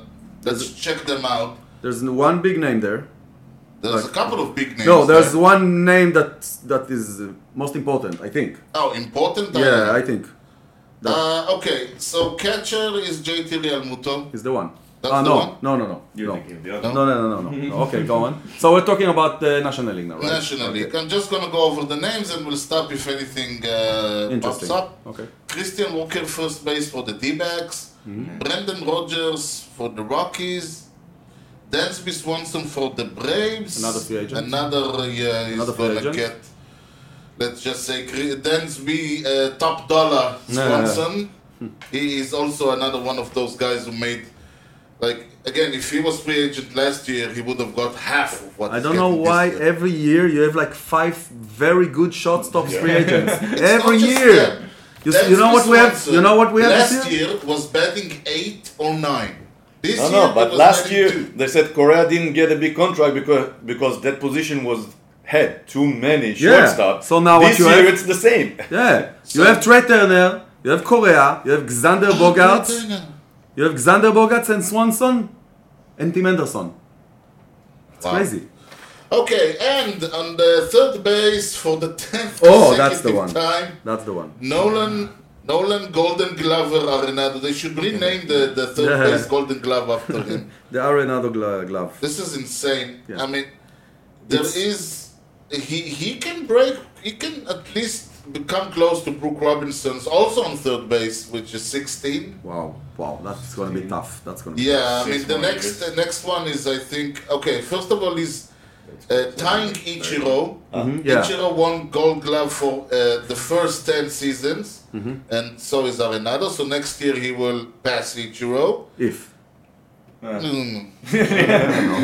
B: let's check them out.
D: There's one big name there.
B: There's a couple of big names.
D: No, there's
B: there.
D: one name that that is uh, most important, I think.
B: Oh, important.
D: Yeah, I think.
B: Uh, okay, so catcher is JT Realmuto.
D: He's the one.
B: That's
D: Ah,
B: the
D: no,
B: one?
D: no, no, no,
E: You're
D: no.
E: thinking the other.
D: No, no, no, no, no. Okay, go on. So we're talking about the National League now, right?
B: National League. I'm just gonna go over the names and we'll stop if anything uh,
D: Interesting.
B: pops up.
D: Okay.
B: Christian Walker, first base for the D-backs.
D: Mm-hmm.
B: Brendan Rodgers for the Rockies. Dansby Swanson for the Braves.
D: Another free agent.
B: Another, uh, yeah, he's
D: Another free
B: gonna
D: agent.
B: get, let's just say, Cri- Dansby uh, top dollar
D: No, no, no.
B: Swanson. He is also another one of those guys who made, like, again, if he was free agent last year, he would have got half of what
D: I
B: he's
D: don't know
B: getting this
D: why
B: year.
D: every year you have like five very good shortstops free agents. every
B: not just
D: year.
B: them.
D: You, s-
B: Dansby
D: you know what we have? You
B: Swanson
D: know what we have
B: Last
D: this year?
B: year was batting eight or nine. This
A: No,
B: year
A: no,
B: he
A: but
B: was
A: last
B: batting
A: year
B: two.
A: they said Korea didn't get a big contract because because that position was had too many
D: Yeah.
A: shortstops.
D: So now what
A: this
D: you
A: year
D: have-
A: it's the same.
D: Yeah. You have Trey Turner. You have Correa. You have Xander Bogarts. You have Xander Bogarts and Swanson and Tim Anderson. It's
B: Wow.
D: crazy.
B: Okay, and on the third base for the tenth
D: Oh, that's the
B: consecutive
D: one.
B: time,
D: That's the one.
B: Nolan Nolan Golden Glover Arenado. They should rename the, the third
D: Yeah.
B: base Golden Glove after him.
D: The Arenado gla- glove.
B: this is insane.
D: Yeah.
B: I mean, there
D: It's-
B: is he he can break. He can at least become close to Brooke Robinson's also on third base, which is sixteen.
D: Wow. Wow. That's gonna be tough. That's gonna be
B: Yeah, I
E: Six
B: mean the
E: more
B: next
E: years.
B: the next one is I think okay. First of all is uh, tying Ichiro.
D: tough. Yeah.
B: Ichiro won Gold Glove for uh, the first ten seasons,
D: Mm-hmm.
B: and so is Arenado. So next year he will pass Ichiro.
D: If.
B: Mm.
D: No.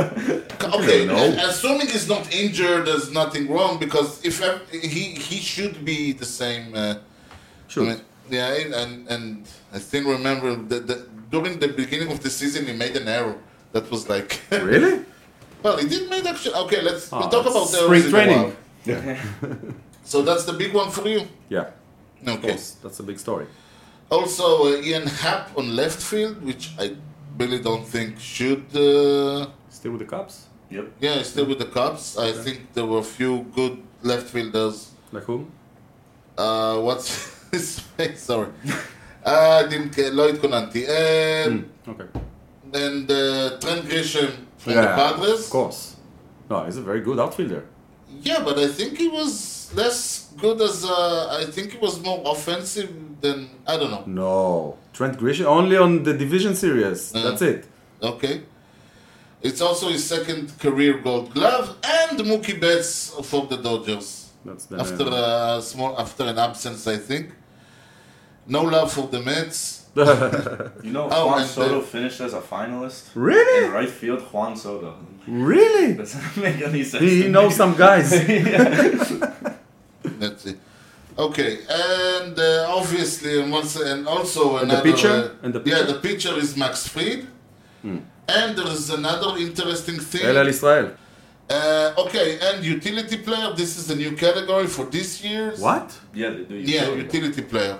B: Okay, a- assuming he's not injured, there's nothing wrong because if ev- he he should be the same. Uh, I
D: Shoot.
B: mean, yeah, and- and and I still remember that, that during the beginning of the season he made an error that was like.
D: Really?
B: Well, he did make action. Okay, let's we'll
D: Ah,
B: talk
D: it's
B: about the
D: spring training.
B: so that's the big one for you.
D: Yeah. Of
B: Okay.
D: course. That's a big story.
B: Also, uh, Ian Happ on left field, which I really don't think should. Uh,
D: Still with the Cubs?
E: Yep.
B: yeah, he's still with the Cubs. I think there were a few good left fielders.
D: Like whom?
B: Uh, what's his face? Sorry, uh, I didn't get Lloyd Conanti um,
D: Okay.
B: and uh, Trent Grisham from the
D: Of
B: Padres.
D: course. No, he's a very good outfielder.
B: Yeah, but I think he was less good as uh, I think he was more offensive than I don't know.
D: No. Trent Grisham only on the division series.
B: Mm.
D: That's it.
B: Okay. It's also his second career gold glove and Mookie Betts for the Dodgers.
D: That's the
B: after a small after an absence, I think. No love for the Mets.
E: You know,
B: Oh,
E: Juan
B: and
E: Soto
B: the-
E: finished as a finalist in
D: Really?
E: right field. Juan Soto
D: Really?
E: doesn't make any sense.
D: He, he
E: to
D: knows
E: me.
D: some guys.
B: That's it. Okay, and uh, obviously, and once and also
D: the
B: another.
D: pitcher?
B: uh,
D: And the
B: Yeah,
D: pitcher?
B: the pitcher is Max Fried.
A: Hmm.
B: And there is another interesting thing.
D: El Israel.
B: Uh, okay, and utility player. This is a new category for this year.
D: What?
E: Yeah, they do.
B: Yeah,
E: utility.
B: utility player.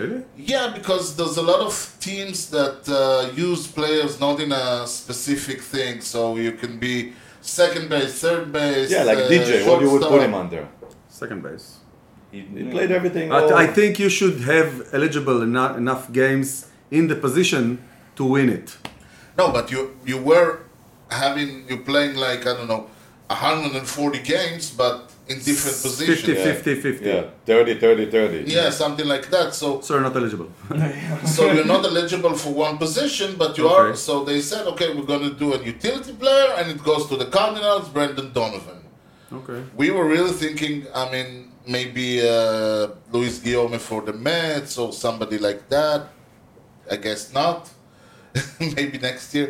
D: Really?
B: Yeah, because there's a lot of teams that uh, use players not in a specific thing, so you can be second base, third base.
A: Yeah, like
B: uh,
A: DJ, what you would put
B: shortstop.
A: him under?
D: Second base.
E: He,
A: He played everything.
D: I,
A: all-
B: Oh.
D: I think you should have eligible enough, enough games in the position to win it.
B: No, but you you were having you playing like I don't know, 140 games, but in different
D: 50,
B: positions.
D: 50, 50.
A: Yeah, 30, 30, 30.
B: Yeah, something like that. So
D: So you're not eligible.
B: so you're not eligible for one position, but you are.
D: Okay.
B: So they said, okay, we're going to do a utility player, and it goes to the Cardinals, Brendan Donovan.
D: okay.
B: We were really thinking, I mean, maybe uh, Luis Guillaume for the Mets or somebody like that. I guess not. maybe next year.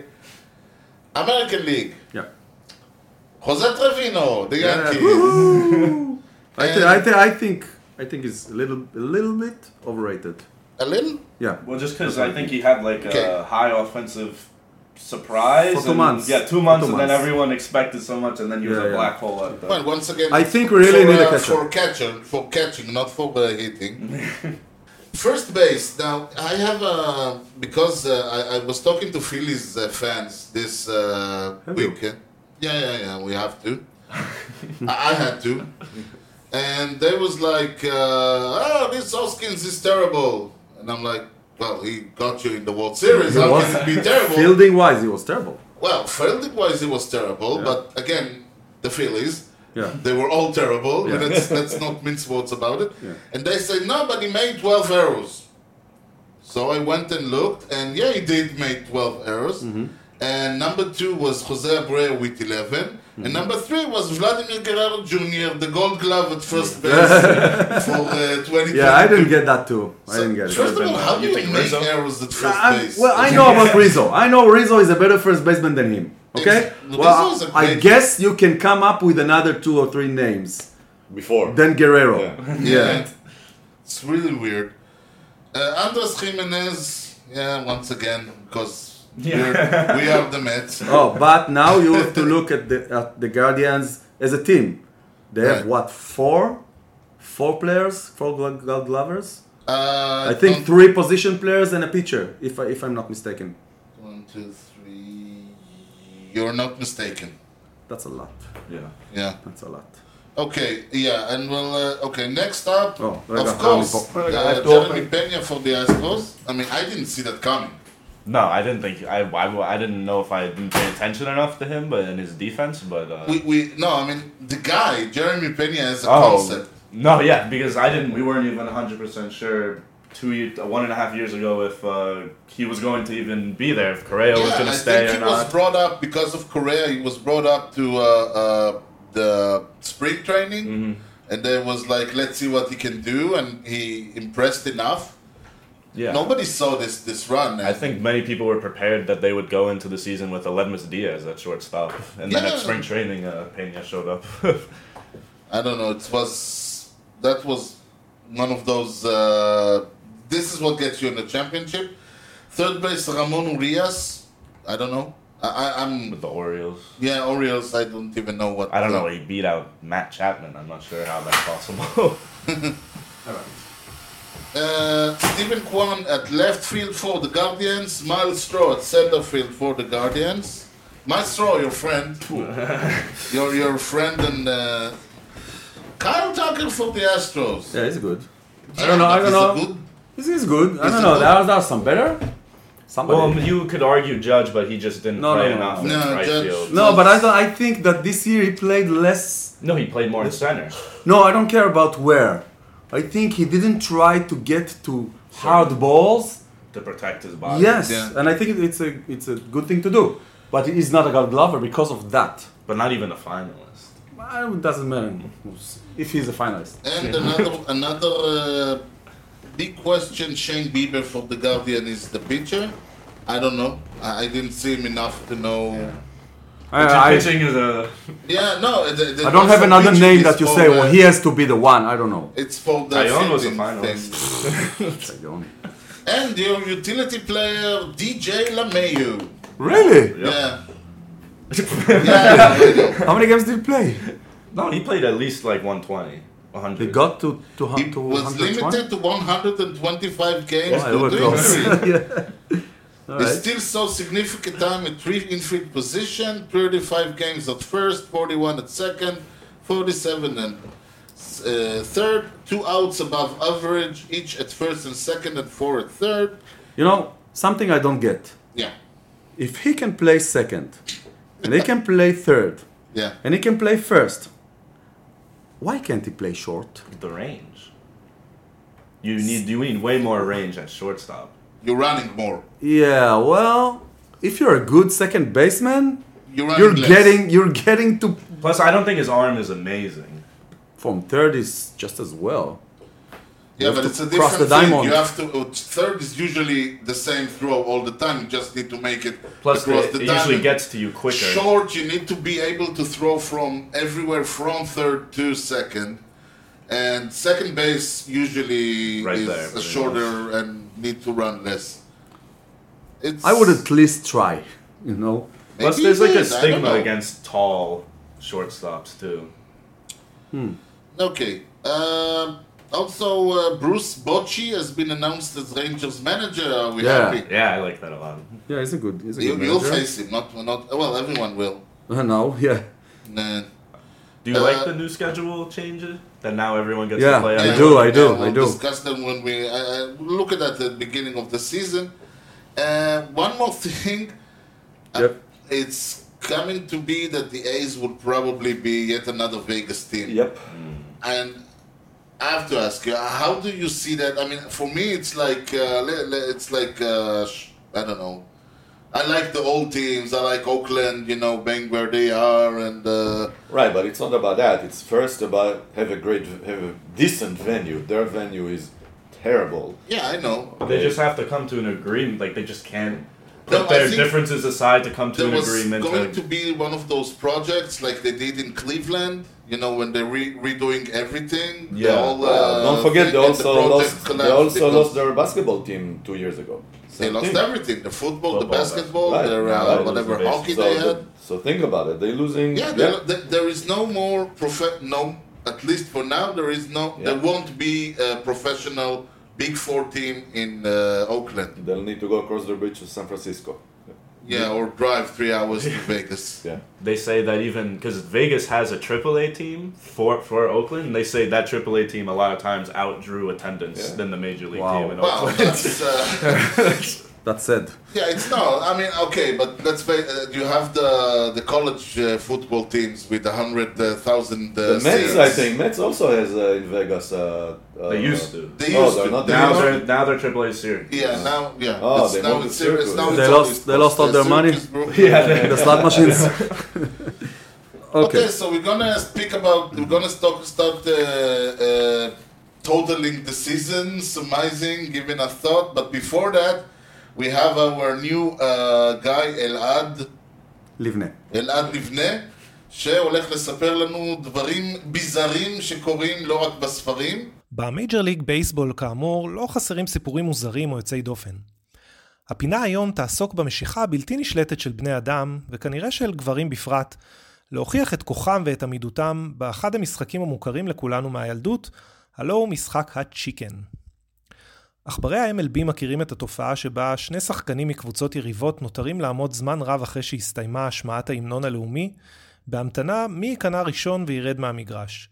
B: American League.
D: Yeah.
B: Jose Trevino, the Yankees.
D: Woohoo! I, th-
B: And-
D: I, th- I think I think it's a little a little bit overrated.
B: A little?
D: Yeah.
E: Well, just because I think he had like a
B: Okay.
E: high offensive surprise.
D: For two
E: and-
D: months.
E: Yeah, two months,
D: For two
E: and then
D: months.
E: everyone expected so much, and then he was
D: Yeah,
E: a
D: yeah.
E: black hole at the.
B: Well, once again,
D: I think we really
B: for,
D: need a
B: uh,
D: catcher.
B: for catcher, for catching, not for uh, hitting. First base. Now I have uh, because uh, I, I was talking to Phillies uh, fans this uh,
D: Have you?
B: weekend. Yeah, yeah, yeah. We have to. I, I had to, and they was like, uh, "Oh, this Hoskins is terrible," and I'm like, "Well, he got you in the World Series.
D: He
B: How
D: was-
B: can it be terrible?"
D: Fielding wise, he was terrible.
B: Well, fielding wise, it was terrible,
D: Yeah.
B: but again, the Phillies,
D: Yeah.
B: they were all terrible.
D: Yeah.
B: Let's, let's not mince words about it.
D: Yeah.
B: And they said, no, but he made 12 errors. So I went and looked, and yeah, he did make 12 errors.
D: Mm-hmm.
B: And number two was Jose Abreu with 11.
D: Mm-hmm.
B: And number three was Vladimir Guerrero Jr., the gold glove at first base for uh, 20.
D: Yeah, I didn't get that too. I
B: So,
D: didn't get it.
B: first of all, how do
E: You
B: you
E: think
B: make
E: Rizzo?
B: errors at first
D: I,
B: base?
D: well, I know about Rizzo. I know Rizzo is a better first baseman than him. Okay?
B: Ex- Rizzo
D: Well,
B: is a
D: I
B: great-
D: guess you can come up with another two or three names
A: before.
D: than Guerrero.
A: Yeah.
B: Yeah. It's really weird. Uh, Andres Jimenez, yeah, once again, because we're, we are the Mets.
D: Oh, but now you have to look at the at the Guardians as a team. They have
B: Right.
D: what four, four players, four glo- glo- glovers.
B: Uh,
D: I think
B: don't-
D: three position players and a pitcher, if I, if I'm not mistaken.
B: One, two, three. You're not mistaken.
D: That's a lot.
E: Yeah.
B: Yeah.
D: That's a lot.
B: Okay. Yeah. And well. Uh, okay. Next up,
D: Oh, I
B: of
D: got
B: course,
D: Harley Bo-
E: I
B: uh,
E: have to
B: Jeremy
E: open.
B: Pena for the Astros. I mean, I didn't see that coming.
E: No, I didn't think I, I, I didn't know if I didn't pay attention enough to him, but in his defense, but uh,
B: We, we no. I mean, the guy Jeremy Pena as
D: Oh.
B: a concept.
E: oh. No, yeah, because I didn't. We weren't even 100 percent sure two, ye- one and a half years ago if uh, he was going to even be there, if Correa was going
B: I
E: to stay
B: think
E: or
B: he was
E: not.
B: brought up because of Korea. He was brought up to uh, uh, the spring training,
E: Mm-hmm.
B: and there was like, let's see what he can do, and he impressed enough.
E: yeah,
B: Nobody saw this this run.
E: I think many people were prepared that they would go into the season with Aledmus Diaz at shortstop, and then
B: Yeah.
E: at spring training, uh, Pena showed up.
B: I don't know. It was that was one of those. Uh, this is what gets you in the championship. Third place, Ramon Urias. I don't know. I, I, I'm
E: with the Orioles.
B: yeah Orioles. I don't even know what.
E: I don't know. He beat out Matt Chapman. I'm not sure how that's possible.
G: All right.
B: Uh, Stephen Kwan at left field for the Guardians. Miles Straw at center field for the Guardians. Miles Straw, your friend. your your friend and uh, Kyle Tucker for the Astros.
D: Yeah, it's good. I don't know. I don't
B: Is
D: know.
B: it good?
D: This is good. I
B: Is
D: don't
B: it
D: know.
B: good?
D: There are, there are some better. Somebody.
E: well, you could argue Judge, but he just didn't
D: No,
E: play
D: no, no,
E: enough
B: no.
E: in
B: No,
E: right
B: Judge-
E: field.
D: no, but I don't, I think that this year he played less.
E: No, he played more in center.
D: No, I don't care about where. I think he didn't try to get to hard balls.
E: to protect his body.
D: Yes,
B: Yeah.
D: and I think it- it's a it's a good thing to do. But he's not a gold glover because of that.
E: But not even a finalist.
D: Well, It doesn't matter if he's a finalist.
B: And another another uh, big question: Shane Bieber for the Guardian is the pitcher. I don't know. I, I didn't see him enough to know.
D: I, I,
E: pitching is a.
B: Yeah, no. The, the
D: I don't have
B: also
D: another
B: pitching
D: name
B: is
D: that you
B: for,
D: say.
B: uh,
D: Well, he has to be the one. I don't know.
B: It's for the
E: Ion was a
B: fitting thing.
E: finalist.
D: It's like the only-
B: And your utility player, DJ LeMayu.
D: Really?
B: Yeah. yeah, I know.
D: How many games did he play?
E: No, he played at least like 120, 100.
D: They got to to
B: He
D: to
B: was
D: 120.
B: limited to 125 games
D: Oh, they were
B: due to
D: close.
B: injury.
D: yeah. All
B: He
D: right.
B: still saw significant time at three infield position, 35 games at first, 41 at second, 47 and uh, third, two outs above average, each at first and second, and four at third.
D: You know something I don't get.
B: Yeah,
D: If he can play second, and he can play third,
B: yeah.
D: and he can play first, why can't he play short?
E: the range. You need you need way more range at shortstop.
B: You're running more.
D: Yeah, well, if you're a good second baseman,
B: You're running
D: you're
B: less.
D: getting you're getting to
E: Plus, I don't think his arm is amazing.
D: from third is just as well.
B: Yeah,
D: have
B: but
D: to
B: it's a
D: cross
B: different
D: the
B: thing.
D: diamond.
B: You have to. uh, Third is usually the same throw all the time. You just need to make it
E: Plus,
B: across
E: it,
B: the
E: it
B: diamond.
E: usually gets to you quicker.
B: Short, you need to be able to throw from everywhere from third to second, and second base usually
E: Right
B: is
E: there,
B: a
E: pretty
B: shorter and need to run less. It's,
H: I would at least try, you know?
E: Plus,
B: Maybe
E: there's
B: he
E: like a
B: did, I don't
E: stigma
B: know.
E: against tall shortstops too.
B: Okay. Um also, uh, Bruce Bocci has been announced as Rangers manager. Are we
H: Yeah.
B: happy?
E: Yeah, I like that a lot.
H: Yeah, he's a good, he's a
B: You,
H: good
B: will
H: manager.
B: face him. Not, not. Well, everyone will.
H: Uh, no, yeah.
B: Nah.
E: Do you
B: Uh,
E: like the new schedule changes? That now everyone gets
H: Yeah,
E: to play.
H: I
E: on-
H: do, I do,
B: we'll
H: I do.
B: Discuss them when we I, I look at that at the beginning of the season. Uh, one more thing, Uh,
H: Yep.
B: it's coming to be that the A's would probably be yet another Vegas team.
A: Yep.
B: And I have to ask you, how do you see that? I mean, for me, it's like uh, le- le- it's like uh, sh- I don't know. I like the old teams. I like Oakland, you know, being where they are, and uh,
A: Right, but it's not about that. It's first about have a great, have a decent venue. Their venue is terrible.
B: yeah, I know.
E: But They just have to come to an agreement. Like they just can't put
B: No, I
E: their
B: think
E: differences aside to come to
B: there
E: an
B: was
E: agreement.
B: going to
E: to-
B: be one of those projects like they did in Cleveland, you know, when they're re- redoing everything. the
E: Yeah.
B: whole,
A: Uh,
B: uh,
A: don't forget,
B: thing,
A: they
B: and the
A: also
B: project
A: lost. They
B: collapsed
A: also
B: because
A: lost their basketball team two years ago.
B: They
A: Same
B: lost
A: thing.
B: everything: the football, the
E: Football,
B: basketball,
A: right,
B: their uh,
A: right.
B: whatever
E: Baseball.
B: hockey
A: So,
B: they
A: the-
B: had.
A: so think about it. They're losing.
B: Yeah, there, there- there is no more prof. No, at least for now, there is no.
A: Yeah.
B: There won't be a professional Big Four team in uh, Oakland.
A: They'll need to go across the bridge to San Francisco.
B: Yeah, or drive three hours to Vegas.
A: Yeah.
E: they say that even because Vegas has a AAA team for for Oakland, and they say that AAA team a lot of times outdrew attendance
A: Yeah.
E: than the major league
H: Wow.
E: team in
B: Wow,
E: Oakland.
B: that's. Uh,
H: That said,
B: Yeah, it's no. I mean, okay, but let's face. Uh, you have the the college uh, football teams with a hundred uh, thousand. Uh,
A: The Mets,
B: seats.
A: I think, Mets also has uh, in Vegas. Uh, uh,
E: They used to.
B: They
A: No,
B: used
A: they're
B: to.
A: not.
E: Now
A: They-
E: they're now they're AAA series.
B: Yeah, now yeah.
A: Oh,
B: it's,
A: they
B: now
A: moved
B: it's
A: the
B: serious.
A: circle.
B: Now
H: They
B: it's
H: lost-
B: all
H: they lost all
B: the
H: their money.
B: Yeah.
H: the slot machines.
B: Okay.
H: okay.
B: so we're gonna speak about. We're gonna stop, start uh, uh, totaling the season, surmising, giving a thought. But before that, we have our new uh, guy Elad.
H: לבנה.
B: אלעד לבנה, שהולך לספר לנו דברים ביזאריים שקורים לא רק בספרים.
I: במייג'ר ליג בייסבול כאמור לא חסרים סיפורים מוזרים או יוצאי דופן. הפינה היום תעסוק במשיכה הבלתי נשלטת של בני אדם, וכנראה של גברים בפרט, להוכיח את כוחם ואת עמידותם באחד המשחקים המוכרים לכולנו מהילדות, הלא הוא משחק הצ'יקן. עכברי ה-MLB מכירים את התופעה שבה שני שחקנים מקבוצות יריבות נותרים לעמוד זמן רב אחרי שהסתיימה השמעת ההמנון הלאומי, בהמתנה מי ייכנע ראשון וירד מהמגרש.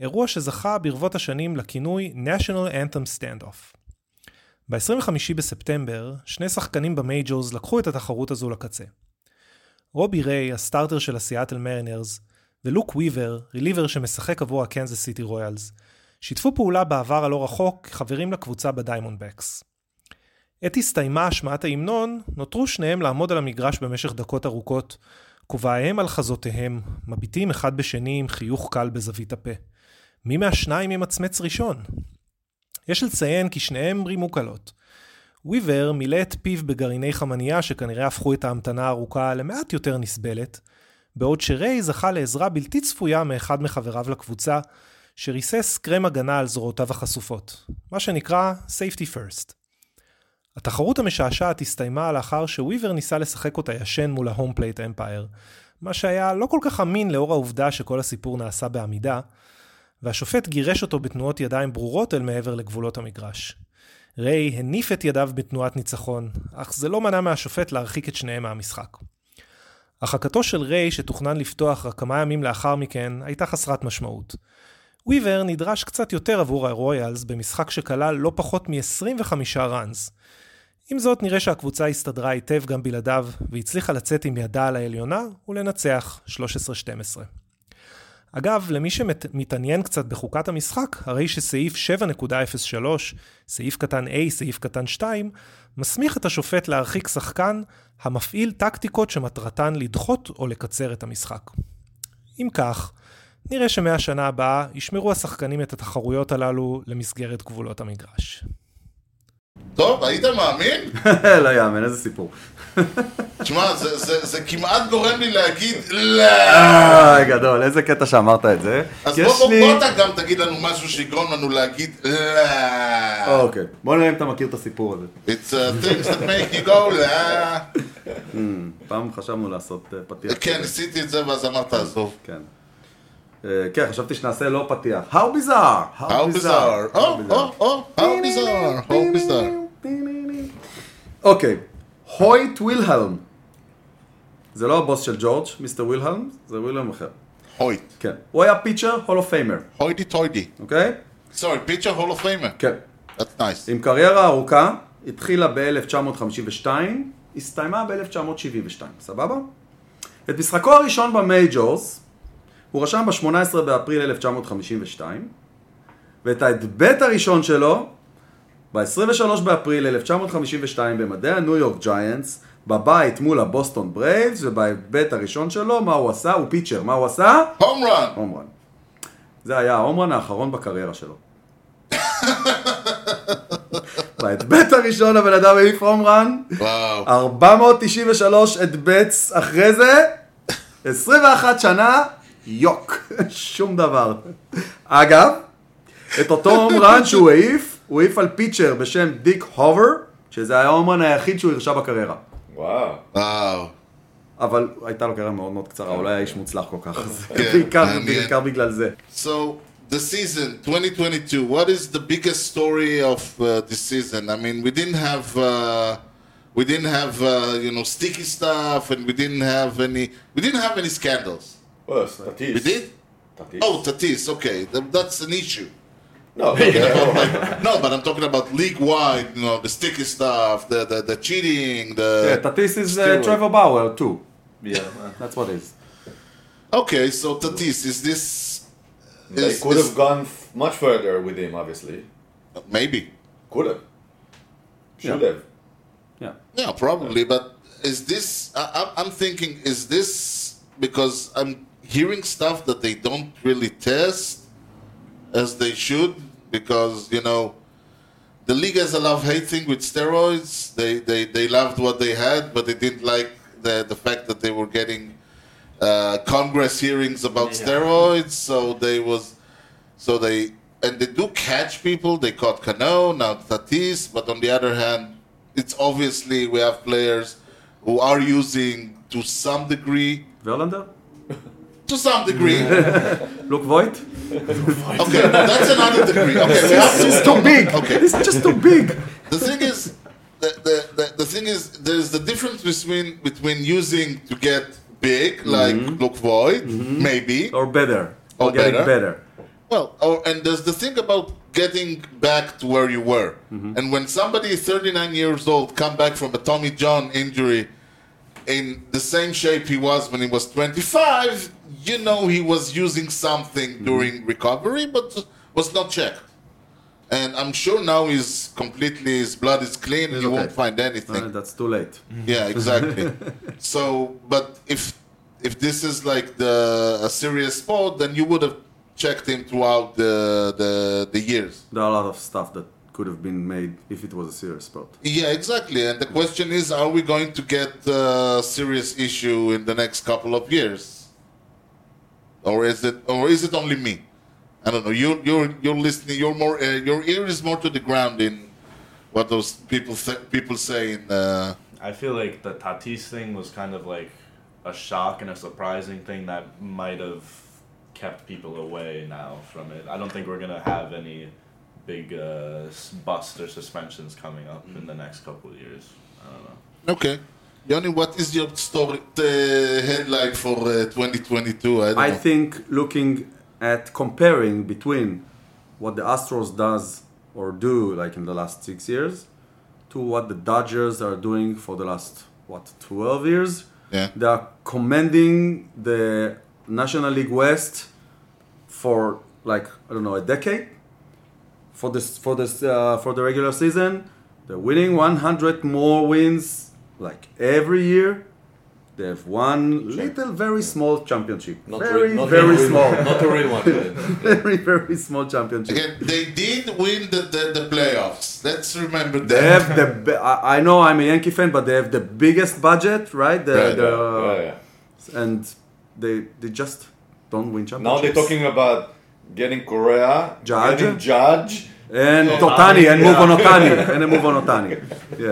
I: אירוע שזכה ברבות השנים לכינוי National Anthem Standoff. ב-25 בספטמבר, שני שחקנים במייג'ורס לקחו את התחרות הזו לקצה. רובי ריי, הסטארטר של הסיאטל מרינרס, ולוק וויבר, ריליבר שמשחק עבור הקנזס סיטי רויאלס, שיתפו פעולה בעבר הלא רחוק כחברים לקבוצה בדיימונדבקס. עת הסתיימה השמעת ההמנון, נותרו שניהם לעמוד על המגרש במשך דקות ארוכות, כובעיהם על חזותיהם, מביטים אחד בשני עם חיוך קל בזווית הפה. מי מהשניים ימצמץ ראשון? יש לציין כי שניהם רימו קלות. וויבר מילא את פיו בגרעיני חמנייה שכנראה הפכו את ההמתנה הארוכה למעט יותר נסבלת, בעוד שריי זכה לעזרה בלתי צפויה מאחד מחבריו לקבוצה, שריסס קרם הגנה על זרועותיו החשופות, מה שנקרא safety first. התחרות המשעשעת הסתיימה לאחר שוויבר ניסה לשחק אותה ישן מול ההום פלייט אמפייר, מה שהיה לא כל כך אמין לאור העובדה שכל הסיפור נעשה בעמידה, והשופט גירש אותו בתנועות ידיים ברורות אל מעבר לגבולות המגרש. ריי הניף את ידיו בתנועת ניצחון, אך זה לא מנע מהשופט להרחיק את שניהם מהמשחק. הרחקתו של ריי, שתוכנן לפתוח רק כמה ימים לאחר מכן, הייתה חסרת משמעות. וויבר נדרש קצת יותר עבור הרויאלס במשחק שכלל לא פחות מ-25 ראנס. עם זאת, נראה שהקבוצה הסתדרה היטב גם בלעדיו, והצליחה לצאת עם ידה על העליונה ולנצח 13-12. אגב, למי שמתעניין קצת בחוקת המשחק, הרי שסעיף 7.03, סעיף קטן A, סעיף קטן 2, מסמיך את השופט להרחיק שחקן המפעיל טקטיקות שמטרתן לדחות או לקצר את המשחק. אם כך, נראה שמהשנה הבאה ישמרו השחקנים את התחרויות הללו למסגרת גבולות המגרש.
B: טוב, היית מאמין?
H: לא יאמן, איזה סיפור.
B: תשמע, זה- זה זה כמעט גורם לי להגיד לא.
D: אה, גדול, איזה קטע שאמרת את זה.
B: אז
D: יש
B: בוא, בוא,
D: לי-
B: בוא אתה גם תגיד לנו משהו שיגרום לנו להגיד לא.
D: אוקיי, בוא נראה אם אתה מכיר את הסיפור הזה.
B: It's uh, things that make you go לא.
D: פעם חשבנו לעשות אה, פתיח.
B: כן,
D: כזה.
B: ניסיתי את זה ואז אמרת עזוב.
D: כן. אה, כן, חשבתי שנעשה לא פתיח. How bizarre!
B: How bizarre.
D: How
B: או,
D: bizarre.
B: או, או, how bizarre. How bizarre.
D: אוקיי, הויט ווילהלם. זה לא הבוס של ג'ורג', מיסטר ווילהלם, זה ווילהלם אחר.
B: הויט.
D: כן. הוא היה פיצ'ר, הול אוף פיימר,
B: הוידי טוידי.
D: אוקיי?
B: סורי, פיצ'ר הול אוף פיימר.
D: כן.
B: That's nice.
D: עם קריירה ארוכה, התחילה ב-1952, הסתיימה ב-1972, סבבה? את משחקו הראשון במייג'ורס, הוא רשם ב-18 באפריל 1952, ואת ההדבט הראשון שלו, ב-23 באפריל 1952 במדעי הניו יורק ג'יינטס, בבית מול הבוסטון ברייבס, ובהיבט הראשון שלו, מה הוא עשה? הוא פיצ'ר, מה הוא עשה?
B: הום רן.
D: הום רן. זה היה ההום רן האחרון בקריירה שלו. בהדבט הראשון הבן אדם העיף הום רן, Uh,
B: וואו.
D: 493 הדבטס אחרי זה, 21 שנה, יוק, שום דבר. אגב, את אותו הום רן שהוא העיף, הוא העיף על פיצ'ר בשם דיק הובר, שזה היה ההום רן היחיד שהוא הרשה בקריירה.
A: וואו.
B: וואו.
D: אבל הייתה לו קריירה מאוד מאוד קצרה, הוא לא היה איש מוצלח כל כך, אז
B: כן,
D: בעיקר-
B: מעניין.
D: בעיקר בגלל זה.
B: So the season 2022. What is the biggest story of uh, this season? I mean, we didn't have uh, we didn't have uh, you know sticky stuff, and we didn't have any we didn't have any scandals.
A: Well, Tatis.
B: We did.
A: Tatis.
B: Oh, Tatis. Okay, Th- that's an issue.
A: no. uh, yeah.
B: No, but I'm talking about league wide. You know, the sticky stuff, the the, the cheating,
D: Yeah,
B: the
D: Tatis is uh,
B: Stewart.
D: Trevor Bauer too.
E: Yeah.
D: That's what it is.
B: Okay, so Tatis is this
A: They
B: is,
A: could
B: is
A: have gone f- much further with him, obviously.
B: maybe
A: Could have. Should
D: Yeah.
A: have.
D: Yeah.
B: Yeah, probably. But is this? I, I'm I'm thinking, is this because I'm hearing stuff that they don't really test as they should? Because you know, the league has a love-hate thing with steroids. They they they loved what they had, but they didn't like the the fact that they were getting uh, Congress hearings about steroids. So they was so they. And they do catch people. They caught Cano, now Tatis. But on the other hand, it's obviously we have players who are using to some degree,
D: Verlander?
B: to some degree.
D: Luke Voigt?
B: Okay, that's another degree. Okay, we have
D: It's too big!
B: Okay.
D: It's just too big!
B: the thing is, the, the, the, the thing is, there's the difference between between using to get big, like look void, maybe.
D: Or better.
B: Or
D: Or getting
B: better.
D: better.
B: Well, oh, and there's the thing about getting back to where you were. And when somebody 39 years old come back from a Tommy John injury in the same shape he was when he was 25, you know he was using something during recovery, but was not checked. And I'm sure now he's completely, his blood is clean, and you
D: okay.
B: won't find
D: Uh,
B: anything.
D: that's too late.
B: Yeah, exactly. so, but if if this is like the a serious sport, then you would have checked him throughout the the, the years.
D: There are a lot of stuff that could have been made if it was a serious sport.
B: Yeah, exactly. And the question is, are we going to get a serious issue in the next couple of years, or is it or is it only me? I don't know. You you're you're listening. You're more uh, your ear is more to the ground in what those people th- people say in. Uh,
E: I feel like the Tatis thing was kind of like a shock and a surprising thing that might have kept people away now from it. I don't think we're gonna have any big uh, s- busts or suspensions coming up in the next couple of years. I don't know.
B: Okay. Yoni, what is your story uh, headline for uh, 2022? I don't
D: I
B: know.
D: think looking at comparing between what the Astros does or do like in the last six years to what the Dodgers are doing for the last what 12 years
B: Yeah.
D: they are commanding the National League West for like I don't know a decade for this for this uh, for the regular season they're winning 100 more wins like every year They have one little, very small championship.
A: Not
D: very,
A: real- not
D: very
A: real-
D: small.
A: Not a real one.
D: very, very small championship.
B: Again, they did win the, the, the playoffs. Let's remember
D: They
B: that.
D: have the. Be- I I know I'm a Yankee fan, but they have the biggest budget, right? The,
B: Right,
D: the,
A: yeah, yeah.
D: And they they just don't win
A: Now
D: championships.
A: they're talking about getting Korea,
D: Judge?
A: getting Judge.
D: and Totani and move on Otani and then move on Otani. Yeah.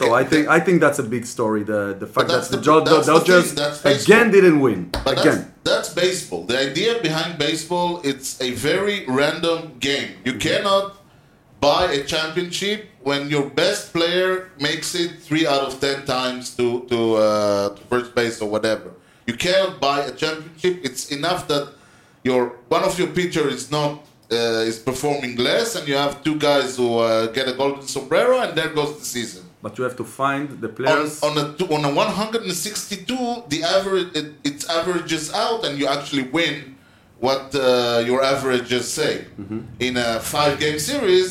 D: So I think I think that's a big story. The the fact
B: that's
D: that the,
B: the-
D: Jo-
B: that's the
D: Dodgers
B: thing, that's baseball.
D: again didn't win.
B: But that's,
D: again.
B: that's baseball. The idea behind baseball, it's a very random game. You cannot buy a championship when your best player makes it three out of ten times to to, uh, to first base or whatever. You cannot buy a championship. It's enough that your one of your pitcher is not uh, is performing less, and you have two guys who uh, get a golden sombrero, and there goes the season
D: But you have to find the
B: on,
D: players.
B: on a two- on a 162 the average it, it averages out and you actually win what uh, your averages say in a five game series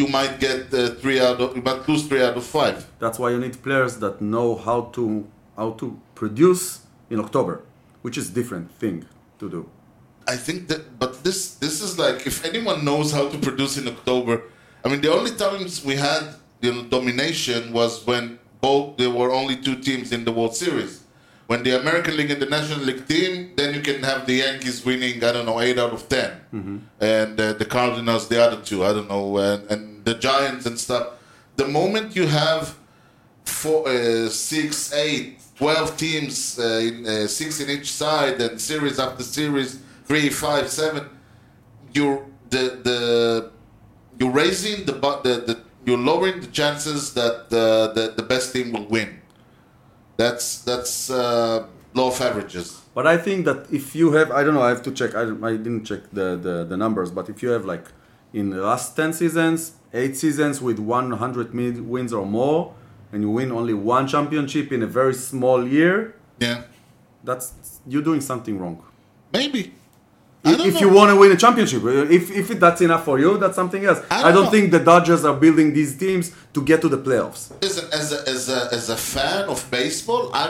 B: you might get uh, three out of you might lose three out of five
D: That's why you need players that know how to how to produce in October, which is different thing to do.
B: i think that but this this is like if anyone knows how to produce in october i mean the only times we had you know, domination was when both there were only two teams in the world series when the American League and the National League team, then you can have the Yankees winning, I don't know, 8 out of 10. And uh, the Cardinals, the other two, I don't know, and, and the Giants and stuff. The moment you have four, uh, 6, 8, 12 teams, uh, in, uh, 6 in each side, and series after series, 3, 5, 7, you're, the, the, you're raising the, bu- the, the you're lowering the chances that uh, the, the best team will win. That's that's uh, law of averages.
D: But I think that if you have, I don't know, I have to check. I, I didn't check the, the, the numbers, but if you have like in the last ten seasons, eight seasons with 100 mid wins or more, and you win only one championship in a very small year,
B: Yeah,
D: that's you're doing something wrong.
B: maybe. I don't
D: If
B: know.
D: you want to win a championship, if, if that's enough for you, that's something else. I
B: don't
D: don't,
B: know.
D: think the Dodgers are building these teams to get to the playoffs.
B: Listen, as a, as a as a fan of baseball, I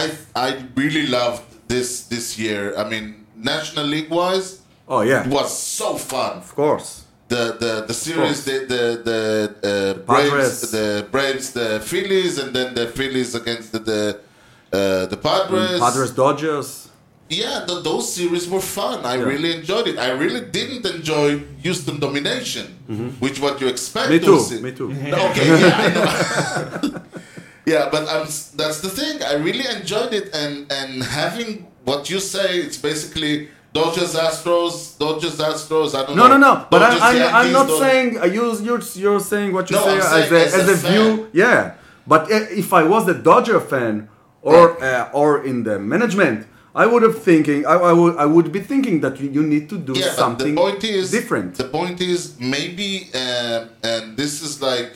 B: I I really loved this this year. I mean, National League wise,
D: Oh yeah,
B: it was so fun.
D: of course.
B: The the the series,
D: course.
B: the the the uh,
D: Padres.
B: Braves, the Braves, the Phillies, and then the Phillies against the the, uh, the Padres.
D: Mm, Padres, Dodgers.
B: Yeah, th- those series were fun. I really enjoyed it. I really didn't enjoy Houston domination, which what you expect.
D: Mm-hmm. Me
B: to
D: too.
B: see.
D: Me too.
B: Okay, yeah, I know. yeah, but I'm, s- that's the thing. I really enjoyed it, and and having what you say, it's basically Dodgers Astros, Dodgers Astros. I don't
D: No,
B: know.
D: no, no. But I'm,
B: Dodgers,
D: I'm, I'm
B: Yankees,
D: not
B: Dod-
D: saying uh, you, you're, you're saying what you
B: No,
D: say
B: I'm
D: as
B: saying
D: a,
B: as
D: as,
B: a
D: a, view. Yeah. But i- if I was the Dodger fan or uh, or in the management, I would have thinking I, I would I would be thinking that you, you need to do
B: yeah,
D: something
B: but the point is
D: different.
B: The point is maybe, um, and this is like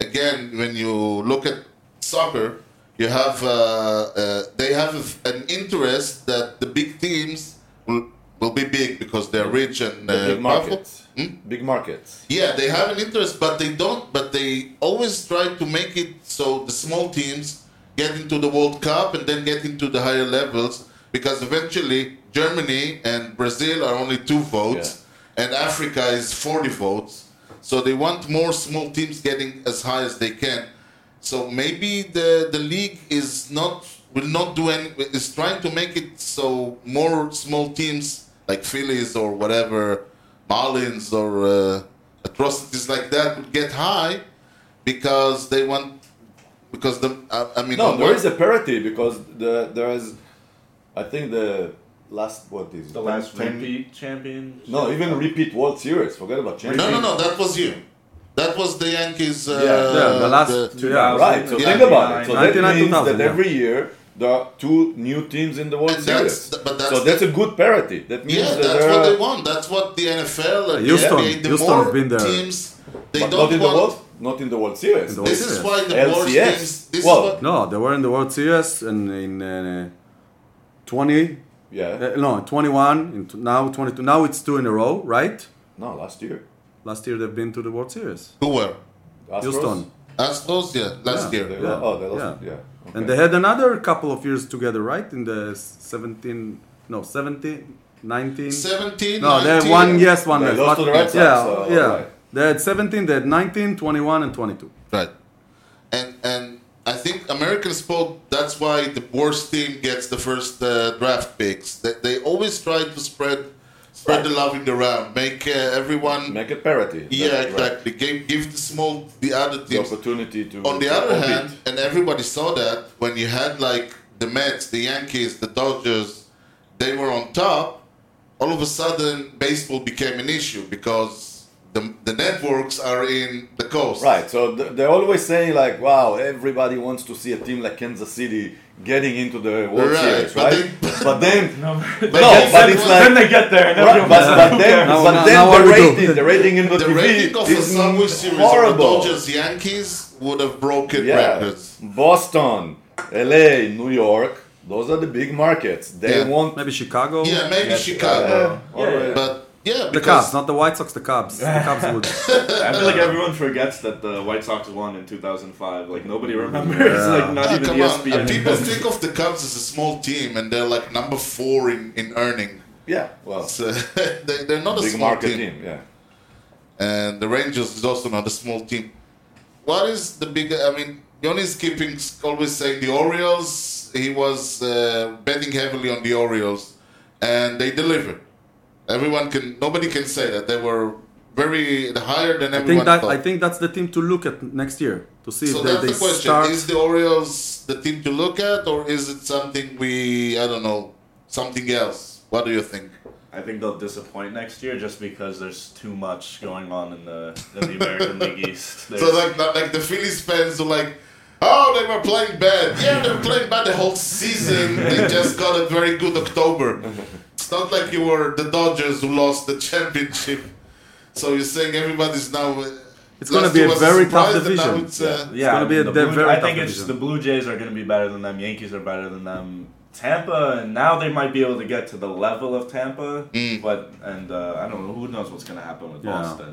B: again when you look at soccer, you have uh, uh, they have an interest that the big teams will, will be big because they're rich and uh,
A: Big
B: powerful. Hmm?
A: markets. Big markets.
B: Yeah, they have an interest, but they don't. But they always try to make it so the small teams get into the World Cup and then get into the higher levels because eventually Germany and Brazil are only two votes, and Africa is forty votes. So they want more small teams getting as high as they can. So maybe the the league is not will not do any is trying to make it so more small teams like Phillies or whatever Marlins or uh, atrocities like that would get high because they want because the I, I mean
A: No,
B: on
A: there
B: one-
A: is a parity because the there is, I think the last what is it?
E: The last
A: Ten-
E: repeat champion.
A: No, even repeat World Series. Forget about
B: no
A: champion.
B: no no that was you that was the Yankees uh,
D: yeah, the last
B: the-
D: yeah.
A: Right. So
B: Yeah.
A: think about it. So that
D: 99,
A: means
D: 2000,
A: that
D: yeah.
A: every year there are two new teams in the World
B: And that's-
A: Series.
B: but that's
A: so that's a good parity. That means
B: yeah
A: that
B: that's
A: there
B: what they
A: are,
B: want that's what the NFL and
D: Houston-
B: the NBA the
D: Houston
B: more
D: have been there.
B: teams they
A: but
B: don't
A: not in the
B: want
A: World, not in the World Series.
D: In the
B: This
D: World
B: is
D: Series.
B: why the worst
A: LCS.
B: teams. This
A: Well,
B: is what,
D: No, they were in the World Series and in uh, 20,
A: Yeah.
D: uh, no, 21, in t- now 22. Now it's two in a row, right?
A: No, last year.
D: Last year they've been to the World Series.
B: who were
A: Astros?
D: Houston.
B: Astros, yeah, last
D: Yeah.
B: year.
A: They were- oh, they lost.
D: Yeah.
A: Yeah.
D: And they had another couple of years together, right? In the 17, no, 17, 19.
B: 17,
D: no, they had
B: 19.
D: one yes, one
A: They
D: left.
A: lost
D: But-
A: to the Red Sox,
D: yeah,
A: so,
D: yeah.
A: right.
D: They had 17, they had 19, 21, and 22.
B: Right. And and I think American sport. That's why the worst team gets the first uh, draft picks. They, they always try to spread spread the love in the round, make uh, everyone.
A: Make it parity.
B: yeah,
A: That's right.
B: exactly. Give, give the small the other
A: The
B: teams.
A: opportunity to.
B: On the
A: to
B: other
A: compete.
B: hand, and everybody saw that when you had like the Mets, the Yankees, the Dodgers, they were on top. All of a sudden, baseball became an issue because the, the networks are in the coast.
A: Right, so th- they always say like, "Wow, everybody wants to see a team like Kansas City getting into the World
B: Right,
A: Series,
B: but
A: right?"
B: they-
A: but then,
E: No,
A: no, but it's
E: then
A: like,
E: they get there and
A: right, but,
E: everyone
A: but then,
D: Now-
A: but
D: now-
A: then
D: now what
A: the
D: we do?
A: rating, the rating in the,
B: The
A: TV
B: rating of the
A: is
B: Subway Series of the
A: horrible.
B: Dodgers Yankees would have broken
A: yeah,
B: records.
A: Boston, L.A., New York, those are the big markets. They
B: Yeah.
A: want
D: Maybe Chicago.
B: Yeah, maybe
A: Yes,
B: Chicago.
A: uh, already-
E: yeah.
B: But yeah,
D: The
B: because
D: Cubs, not the White Sox, the Cubs. The Cubs would.
E: I feel like everyone forgets that the White Sox won in 2005. Like nobody remembers. Like not
B: Ah,
E: even
B: come
A: E
D: E
B: on.
E: ESPN.
B: And people think of the Cubs as a small team, and they're like number four in, in earning.
A: yeah, well,
B: So they, they're not a
A: big
B: small
A: market
B: team.
A: team, yeah.
B: and the Rangers is also not a small team. What is the big? I mean, Yoni's keeping always saying the Orioles. He was uh, betting heavily on the Orioles, and they delivered. Everyone can, nobody can say that they were very higher than
D: I
B: everyone
D: think that
B: thought.
D: I think that's the team to look at next year to see
B: so
D: if they,
B: that's
D: they
B: the question:
D: start.
B: Is the Orioles the team to look at, or is it something we? I don't know, something else. What do you think?
E: I think they'll disappoint next year just because there's too much going on in the in the American League East. There's,
B: So like not like the Phillies fans are like, oh they were playing bad. Yeah, they were playing bad the whole season. They just got a very good October. It's not like you were the Dodgers who lost the championship. So you're saying everybody's now. uh,
D: It's gonna
B: last
D: be
B: year
D: a
B: was
D: very
B: surprise,
D: tough
B: and now
D: division.
B: it's, uh,
D: It's gonna be a
E: the
D: de-
E: Blue-
D: very
E: I
D: tough
E: think it's
D: division.
E: the Blue Jays are going to be better than them. Yankees are better than them. Tampa, and now they might be able to get to the level of Tampa,
B: Mm.
E: but and uh, I don't know who knows what's going to happen with
D: Yeah.
E: Boston.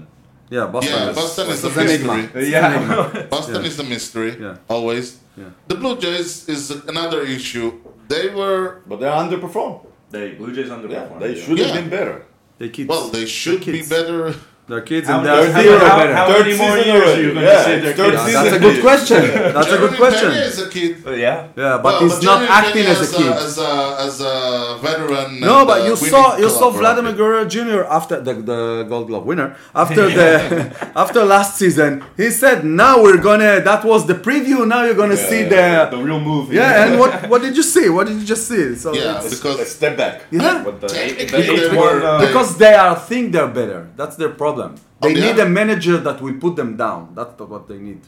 D: Yeah, Boston.
B: Yeah,
D: is,
B: Boston is
D: it's
B: a
D: an
B: mystery.
D: enigma.
E: Yeah,
B: Boston is a mystery,
D: Yeah.
B: always.
D: Yeah.
B: The Blue Jays is another issue. They were
A: But they underperform.
E: they Blue Jays
A: Yeah,
E: underperformed.
A: they should have
B: Yeah.
A: been better.
D: They kids.
B: well. They should be
D: kids.
B: better.
D: They're kids
E: How
D: and
E: many-
D: they're
E: how-
D: zero
E: how-
D: better.
E: how-
A: Third
E: many more
A: season
E: years
A: already.
E: are you gonna
A: Yeah,
E: say they're
A: third
E: kids?
A: season
D: That's a
A: is-
D: good question. That's a
B: Jeremy
D: good
B: Peña
D: question.
B: is a kid.
E: Oh, Yeah.
D: Yeah, but
B: Well,
D: he's not
B: Jeremy
D: acting
B: Peña
D: as a kid.
B: As a, as a veteran.
D: No,
B: and,
D: but
B: uh,
D: you
B: winning
D: saw you saw
B: collaborator.
D: Vladimir Guerrero Jr. after the, the Gold Glove winner after the after last season. He said, "Now we're gonna. That was the preview. Now you're gonna see
E: The
D: the
E: real movie.
D: yeah." And what what did you see? What did you just see? So
B: Yeah,
D: it's-
A: A
B: because
A: step back.
D: yeah.
E: But the, the
B: Technically,
E: eight
B: they Oh,
E: won,
B: were-
E: uh,
D: because they are think they're better. That's their problem.
B: the
D: They need
B: other-
D: a manager that will put them down. That's the- what they need.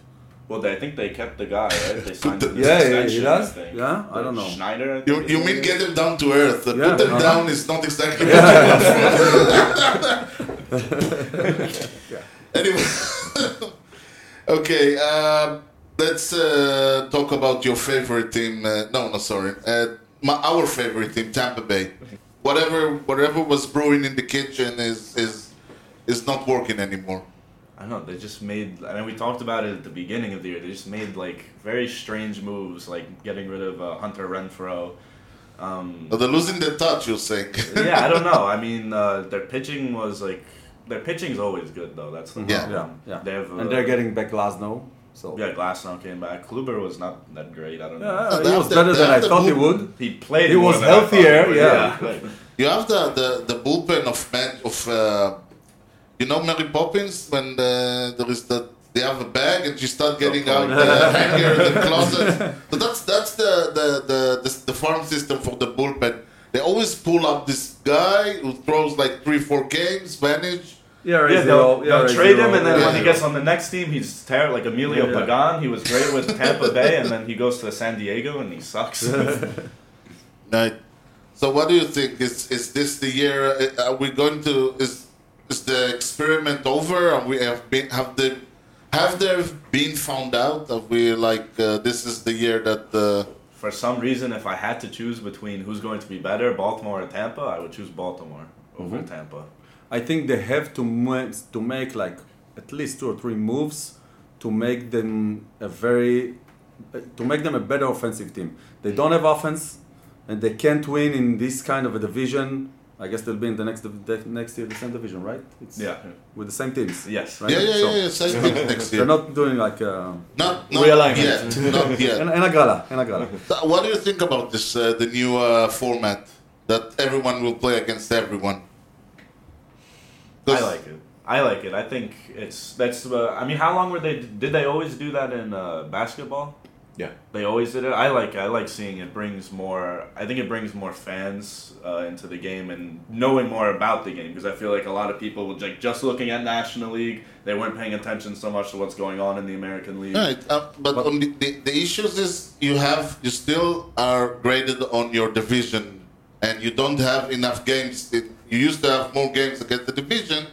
E: Well, they, I think they kept the guy, right? They signed him. to
D: Yeah,
E: the
D: yeah, he
E: extension,
D: does.
E: I think.
D: Yeah, I don't know.
E: Schneider. I think
B: you,
E: his
B: you
E: name
B: mean
E: is.
B: get them down to earth. Uh,
D: Yeah,
B: Put them
D: uh-huh.
B: down is not exactly what you want from Anyway. okay, uh, let's uh, talk about your favorite team. Uh, no, no, sorry. Uh, my, our favorite team, Tampa Bay. Whatever, whatever was brewing in the kitchen is is is not working anymore.
E: I don't know. They just made. I mean, we talked about it at the beginning of the year. They just made like very strange moves, like getting rid of uh, Hunter Renfro. Um,
B: But they're losing their touch. You're saying.
E: yeah, I don't know. I mean, uh, their pitching was like their pitching's always good though. That's the
B: Yeah.
D: Yeah,
E: problem.
D: yeah.
E: They have, uh,
D: and they're getting back Glasnow. So
E: yeah. Glasnow came back. Kluber was not that great. I don't know.
D: yeah,
B: They
D: he
B: have
D: was
B: the-
D: better
B: they
D: than
B: have
D: I
B: the
D: thought he
B: bull-
D: would.
E: He played.
D: He
E: more
D: was
E: than I thought he
D: healthier,
E: would,
D: yeah.
B: You have the, the, the bullpen of man of uh, you know Mary Poppins when uh, there is the they have a bag and she start getting out the hanger the closet. So that's that's the the, the the the farm system for the bullpen. They always pull up this guy who throws like three four games, vanish.
D: Yeah,
E: Yeah, they'll, they'll trade him, and then when he
B: Yeah.
E: gets on the next team, he's terrible. Like Emilio
D: Yeah.
E: Pagan, he was great with Tampa Bay, and then he goes to San Diego and he sucks.
B: Right. So what do you think? Is is this the year? uh, Are we going to is is the experiment over? Have we have been have the have they been found out? Have we like uh, this is the year that uh,
E: For some reason, if I had to choose between who's going to be better, Baltimore or Tampa, I would choose Baltimore over Tampa.
D: I think they have to mo- to make like at least two or three moves to make them a very
J: to make them a better offensive team. They don't have offense, and they can't win in this kind of a division. I guess they'll be in the next the next year the same division, right? It's
E: Yeah.
J: with the same teams.
E: Yes.
B: Yeah, yeah,
J: So-
B: yeah, yeah. Same thing next year.
J: They're not doing like uh,
B: Not, not
A: Realignment.
B: yet. Not
J: אין
B: yet.
J: אין הגרלה, אין הגרלה.
B: Th- What do you think about this, uh, the new uh, format that everyone will play against everyone?
E: I like it. I like it. I think it's that's. Uh, I mean, how long were they? Did they always do that in uh, basketball?
A: Yeah.
E: They always did it. I like. I like seeing it brings more. I think it brings more fans uh, into the game and knowing more about the game because I feel like a lot of people were like just looking at National League. They weren't paying attention so much to what's going on in the American League.
B: Right, uh, but, on the, the, the issues is you have you still are graded on your division, and you don't have enough games. It, you used to have more games against the division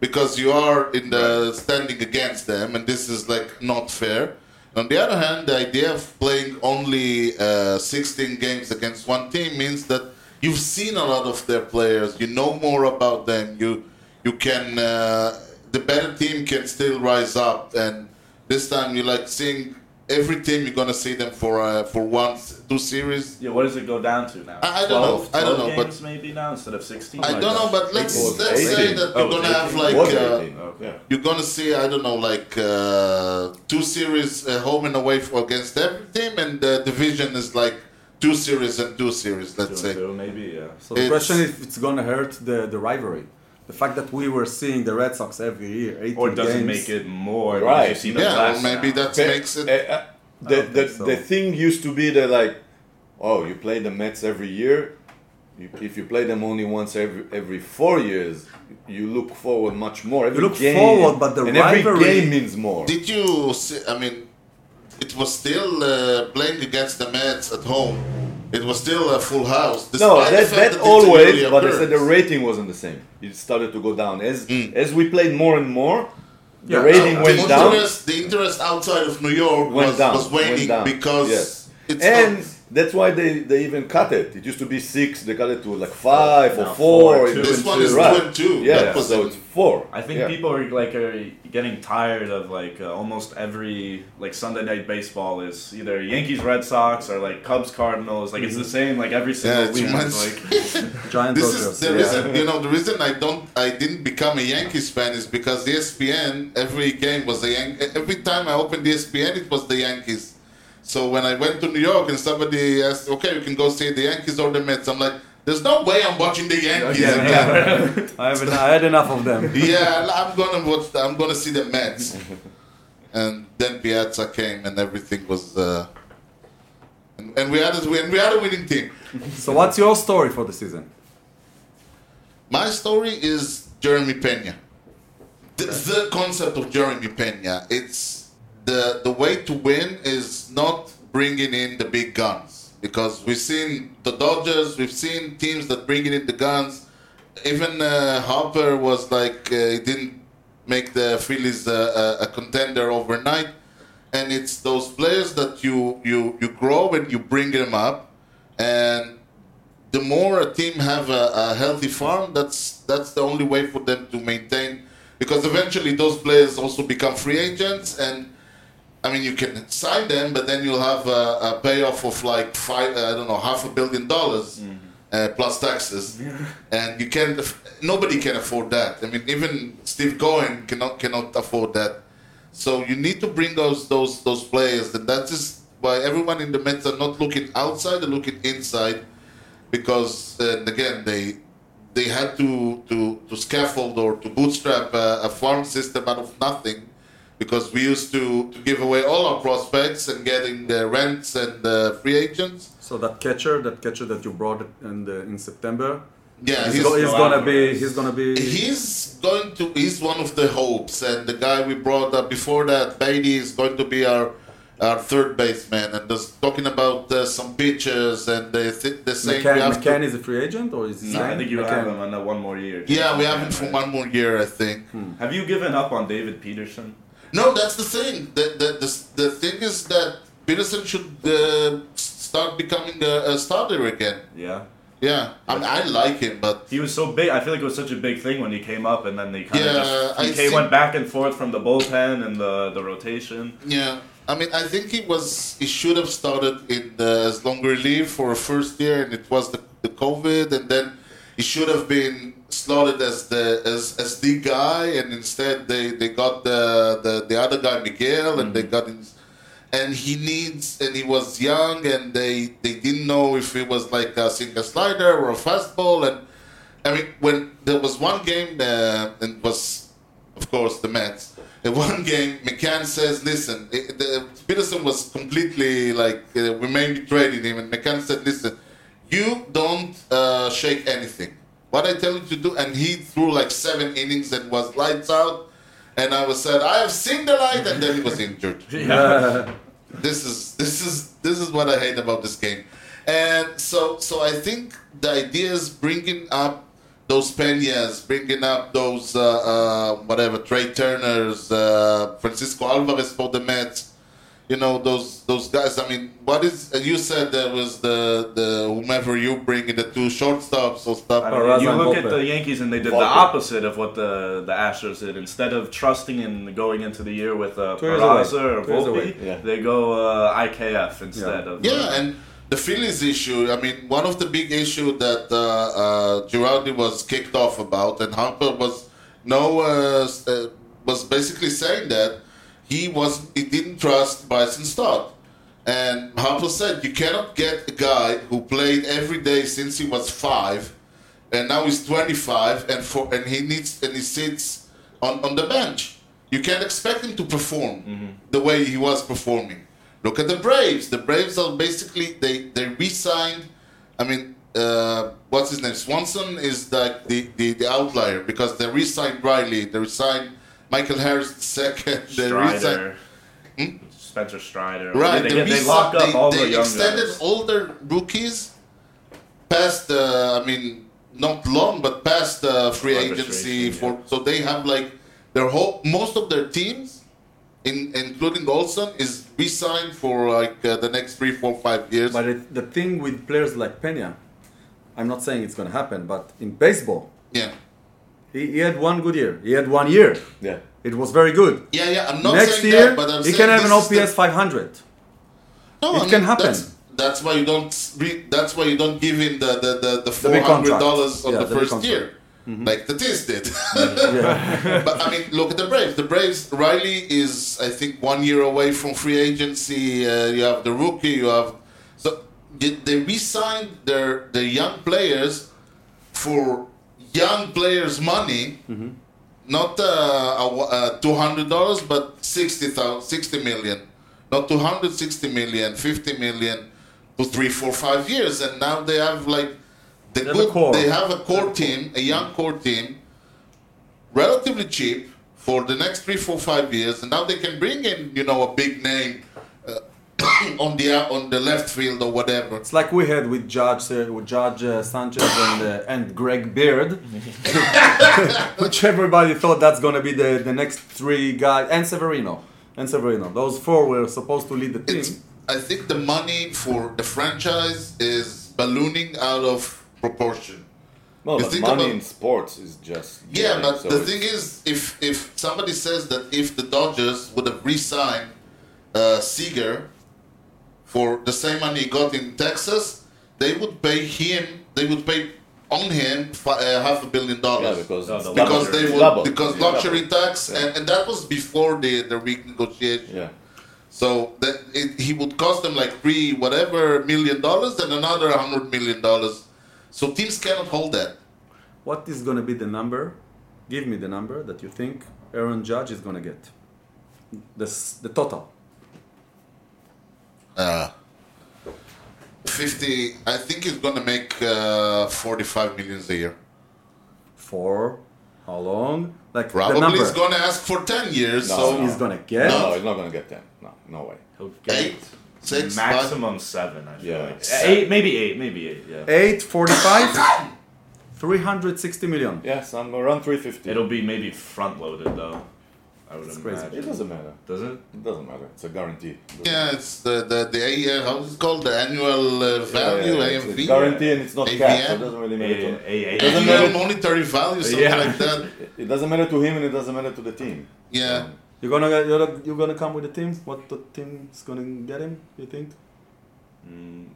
B: because you are in the standing against them, and this is like not fair. On the other hand, the idea of playing only uh, 16 games against one team means that you've seen a lot of their players, you know more about them, you you can uh, the better team can still rise up, and this time you like seeing every team you're gonna see them for uh, for once two series.
E: Yeah, what does it go down to now?
B: I- I don't know. I don't know, but-
E: games maybe now instead of sixteen.
B: I don't know, but let's
A: It was
B: let's say
A: 18.
B: that
E: Oh,
B: you're gonna have
E: 18.
B: like.
A: was
B: uh,
A: 18. Yeah.
B: you're gonna see I don't know like uh, two series uh, home and away for against every team, and the division is like two series and two series.
E: two,
B: Let's
E: and
B: say
E: two, maybe yeah.
J: So the
B: It's-
J: question is if it's gonna hurt the, the rivalry. The fact that we were seeing the Red Sox every year, 18
E: Or does it
J: games.
E: make it more? because
A: Right.
E: You see the
B: yeah, or
E: class
B: maybe
E: now.
B: that makes it.
A: Uh, uh, the,
J: don't
A: the,
J: think so.
A: the thing used to be that like, oh, you play the Mets every year. You- If you play them only once every every four years, you look forward much more. Every
J: look
A: game,
J: forward, but the
A: and
J: rivalry-
A: every game means more.
B: Did you see? I mean, it was still uh, playing against the Mets at home. It was still a full house.
A: No,
B: despite the
A: that,
B: fact
A: that
B: it's
A: always,
B: really
A: but I
B: occurred.
A: said the rating wasn't the same. It started to go down as as we played more and more. The
J: Yeah.
A: rating
B: Hmm. The
A: went down.
B: interest, the interest outside of New York
A: went
B: was,
A: down.
B: was waning
A: went down.
B: because
A: yes.
B: it's
A: and
B: not-
A: that's why they, they even cut it. It used to be six. They cut it to like five or
E: Now
A: four.
E: four,
A: it
E: two
A: went
B: This one
A: to-
B: is
A: right.
B: two and two.
A: Yeah,
B: That was
A: so
B: it.
A: it's four.
E: I think
A: yeah.
E: people are like are getting tired of like uh, almost every like Sunday night baseball is either Yankees Red Sox or like Cubs Cardinals like it's the same like every single
B: it's
E: week.
B: much-
E: It's like
J: Giant
B: This
J: Dodgers,
B: is the
J: yeah.
B: reason, you know, the reason I don't, I didn't become a Yankees fan is because E the ESPN every game was the Yan- e, every time I opened E the ESPN it was the Yankees. So when I went to New York and somebody asked, okay, you can go see the Yankees or the Mets, I'm like, there's no way I'm watching the Yankees
J: Yeah,
B: again.
J: I, have, I had enough of them.
B: yeah, I'm gonna watch. I'm gonna see the Mets. and then Piazza came, and everything was. Uh, and, and we had a, and we had a winning team.
J: So what's your story for the season?
B: My story is Jeremy Pena. The, the concept of Jeremy Pena. It's the the way to win is not bringing in the big guns because we've seen the Dodgers, we've seen teams that bringing in the guns. Even uh, Harper was like uh, he didn't make the Phillies uh, a, a contender overnight, and it's those players that you you you grow and you bring them up, and the more a team have a, a healthy farm, that's that's the only way for them to maintain. Because eventually those players also become free agents, and I mean you can sign them, but then you'll have a, a payoff of like five, I don't know, half a billion dollars uh, plus taxes, and you can't. aff- Nobody can afford that. I mean, even Steve Cohen cannot cannot afford that. So you need to bring those those those players, and that is why everyone in the Mets are not looking outside; they're looking inside because uh, again they they had to, to, to scaffold or to bootstrap a, a farm system out of nothing because we used to, to give away all our prospects and getting the rents and the free agents.
J: So that catcher, that catcher that you brought in, the, in September,
B: Yeah,
J: he's,
B: he's,
J: go, he's
E: still
J: gonna
E: out.
J: be, he's gonna be,
B: he's going to he's one of the hopes and the guy we brought up before that Beatty is going to be our our third baseman and just talking about uh, some pitchers and they th- the same
J: McCann, McCann is a free agent or is he
E: I
J: signed?
E: think you
J: McCann.
E: have them on the one more year.
B: yeah we have him for one more year I think
E: Have you given up on David Peterson?
B: No, that's the thing. The, the, the, the thing is that Peterson should uh, start becoming a, a starter again.
E: Yeah.
B: Yeah, I, mean, I like him, but
E: He was so big. I feel like it was such a big thing when he came up, and then they kind
B: Yeah,
E: of just
B: I
E: he
B: think-
E: came, went back and forth from the bullpen and the the rotation.
B: yeah, I mean, I think he was he should have started in the, as long relief for a first year, and it was the, the COVID, and then he should have been slotted as the as, as the guy, and instead they, they got the, the the other guy Miguel, and they got him, and he needs, and he was young, and they they didn't know if it was like a single slider or a fastball, and I mean, when there was one game, uh, and it was, of course, the Mets. In one game, McCann says, "Listen, it, the, Peterson was completely like uh, we maybe traded him, and McCann said, listen, you don't uh, shake anything. What I tell you to do, and he threw like seven innings and was lights out, and I was said, I have seen the light, and then he was injured." this is this is this is what I hate about this game. And so so I think the idea is bringing up those Peñas, bringing up those uh, uh, whatever Trey Turners, uh, Francisco Alvarez for the Mets. You know those those guys. I mean, what is you said there was the the whomever you bring in the two shortstops or stuff.
E: I mean,
J: Oh, Razan
E: you look
J: Volpe.
E: at the Yankees and they did the
A: Volpe.
E: opposite of what the, the Astros did. Instead of trusting and going into the year with uh,
J: years away.
E: Peraza or
J: Two years away,
E: Volpe,
A: yeah.
E: they go uh, IKF instead of uh,
B: Yeah, and the Phillies issue. I mean, one of the big issue that uh, uh, Girardi was kicked off about, and Harper was no uh, s- uh, was basically saying that he was he didn't trust Bryson Stott. And Harper said, "You cannot get a guy who played every day since he was five, and now he's 25, and for and he needs and he sits on, on the bench. You can't expect him to perform the way he was performing. Look at the Braves. The Braves are basically they they re-signed. I mean, uh, what's his name? Swanson is like the, the, the outlier because they re-signed Riley, they re-signed Michael Harris second, they re-signed
E: Strider, Spencer Strider.
B: Right,
E: They,
B: the
E: get, they
B: reason
E: lock up
B: they,
E: all
B: they
E: the young
B: extended
E: guys.
B: older rookies past the, I mean, not long, but past the free agency
E: Arbitration,
B: for. So they have like their whole most of their teams, in including Olsen, is re-signed for like uh, the next three, four, five years.
J: But it, the thing with players like Pena, I'm not saying it's going to happen, but in baseball,
B: yeah,
J: he, he had one good year. He had one year.
A: Yeah.
J: It was very good.
B: yeah, yeah. I'm not
J: Next
B: saying
J: year,
B: that, but I'm
J: he
B: saying
J: can have an
B: this
J: OPS
B: is the-
J: 500.
B: No,
J: It can happen.
B: That's, that's why you don't. Re, that's why you don't give him the the the, the four
J: big
B: hundred
J: contract.
B: dollars on
J: Yeah,
B: the
J: the big
B: first
J: contract. Mm-hmm.
B: year, like the Tis did. but I mean, look at the Braves. The Braves. Riley is, I think, one year away from free agency. Uh, you have the rookie. You have so they- they re-signed their their young players for young players' money. Not uh, a wa- uh, two hundred dollars, but 60, thou- 60 million. Not 260 million, 50 million to three, four, five years, and now they have like the
J: have a
B: good.
J: core.
B: They have a core team, a young core team, relatively cheap for the next three, four, five years, and now they can bring in you know a big name uh, on the on the left field or whatever.
J: It's like we had with Judge, uh, with Judge uh, Sanchez and, uh, and Greg Beard, which everybody thought that's going to be the, the next three guys, and Severino. And Severino. Those four were supposed to lead the team.
B: It's, I think the money for the franchise is ballooning out of proportion.
A: No,
B: You
A: but
B: think
A: money
B: about-
A: in sports is just
B: Yeah,
A: great,
B: but
A: so
B: the
A: it's-
B: thing is, if if somebody says that if the Dodgers would have re-signed uh, Seager for the same money he got in Texas, they would pay him. They would pay on him fi- uh, half a billion
A: yeah,
B: dollars
A: because
E: No,
A: it's
E: the
A: double.
B: because they
A: It's
B: would
A: double.
B: because
A: Yeah.
B: luxury tax and, and that was before the the renegotiation.
A: Yeah.
B: So that it, he would cost them like three whatever million dollars and another hundred million dollars. So teams cannot hold that.
J: What is going to be the number? Give me the number that you think Aaron Judge is going to get. The, s- the total.
B: Uh, 50, I think he's going to make uh, 45 millions a year.
J: For how long? Like the
B: Probably
J: number.
B: he's going to ask for 10 years.
A: No,
B: so
A: no.
J: he's going to get.
A: No, he's not gonna get ten. No, no way.
E: He'll get
B: eight, six, five.
E: maximum seven. I feel
A: Yeah.
E: like eight, maybe eight, maybe eight. Yeah.
J: 845, 360 million.
A: Yeah, some around three fifty.
E: It'll be maybe front loaded though. I would
D: crazy.
E: imagine.
A: It doesn't matter.
E: Does it?
A: It doesn't matter. It's a guarantee.
B: Yeah, it's the, the, the AR, how is it called? The annual uh, value,
A: Yeah, it's a
B: AMV?
A: guarantee and it's not cash, so it
B: AVM?
A: doesn't really matter.
E: A-
A: To,
E: A- A-
A: Doesn't
B: Annual
A: matter.
B: monetary value, something
E: Yeah.
B: like that.
A: it doesn't matter to him and it doesn't matter to the team.
B: Yeah.
D: You're gonna you're, you're gonna come with the team. What the team's gonna get him? You think?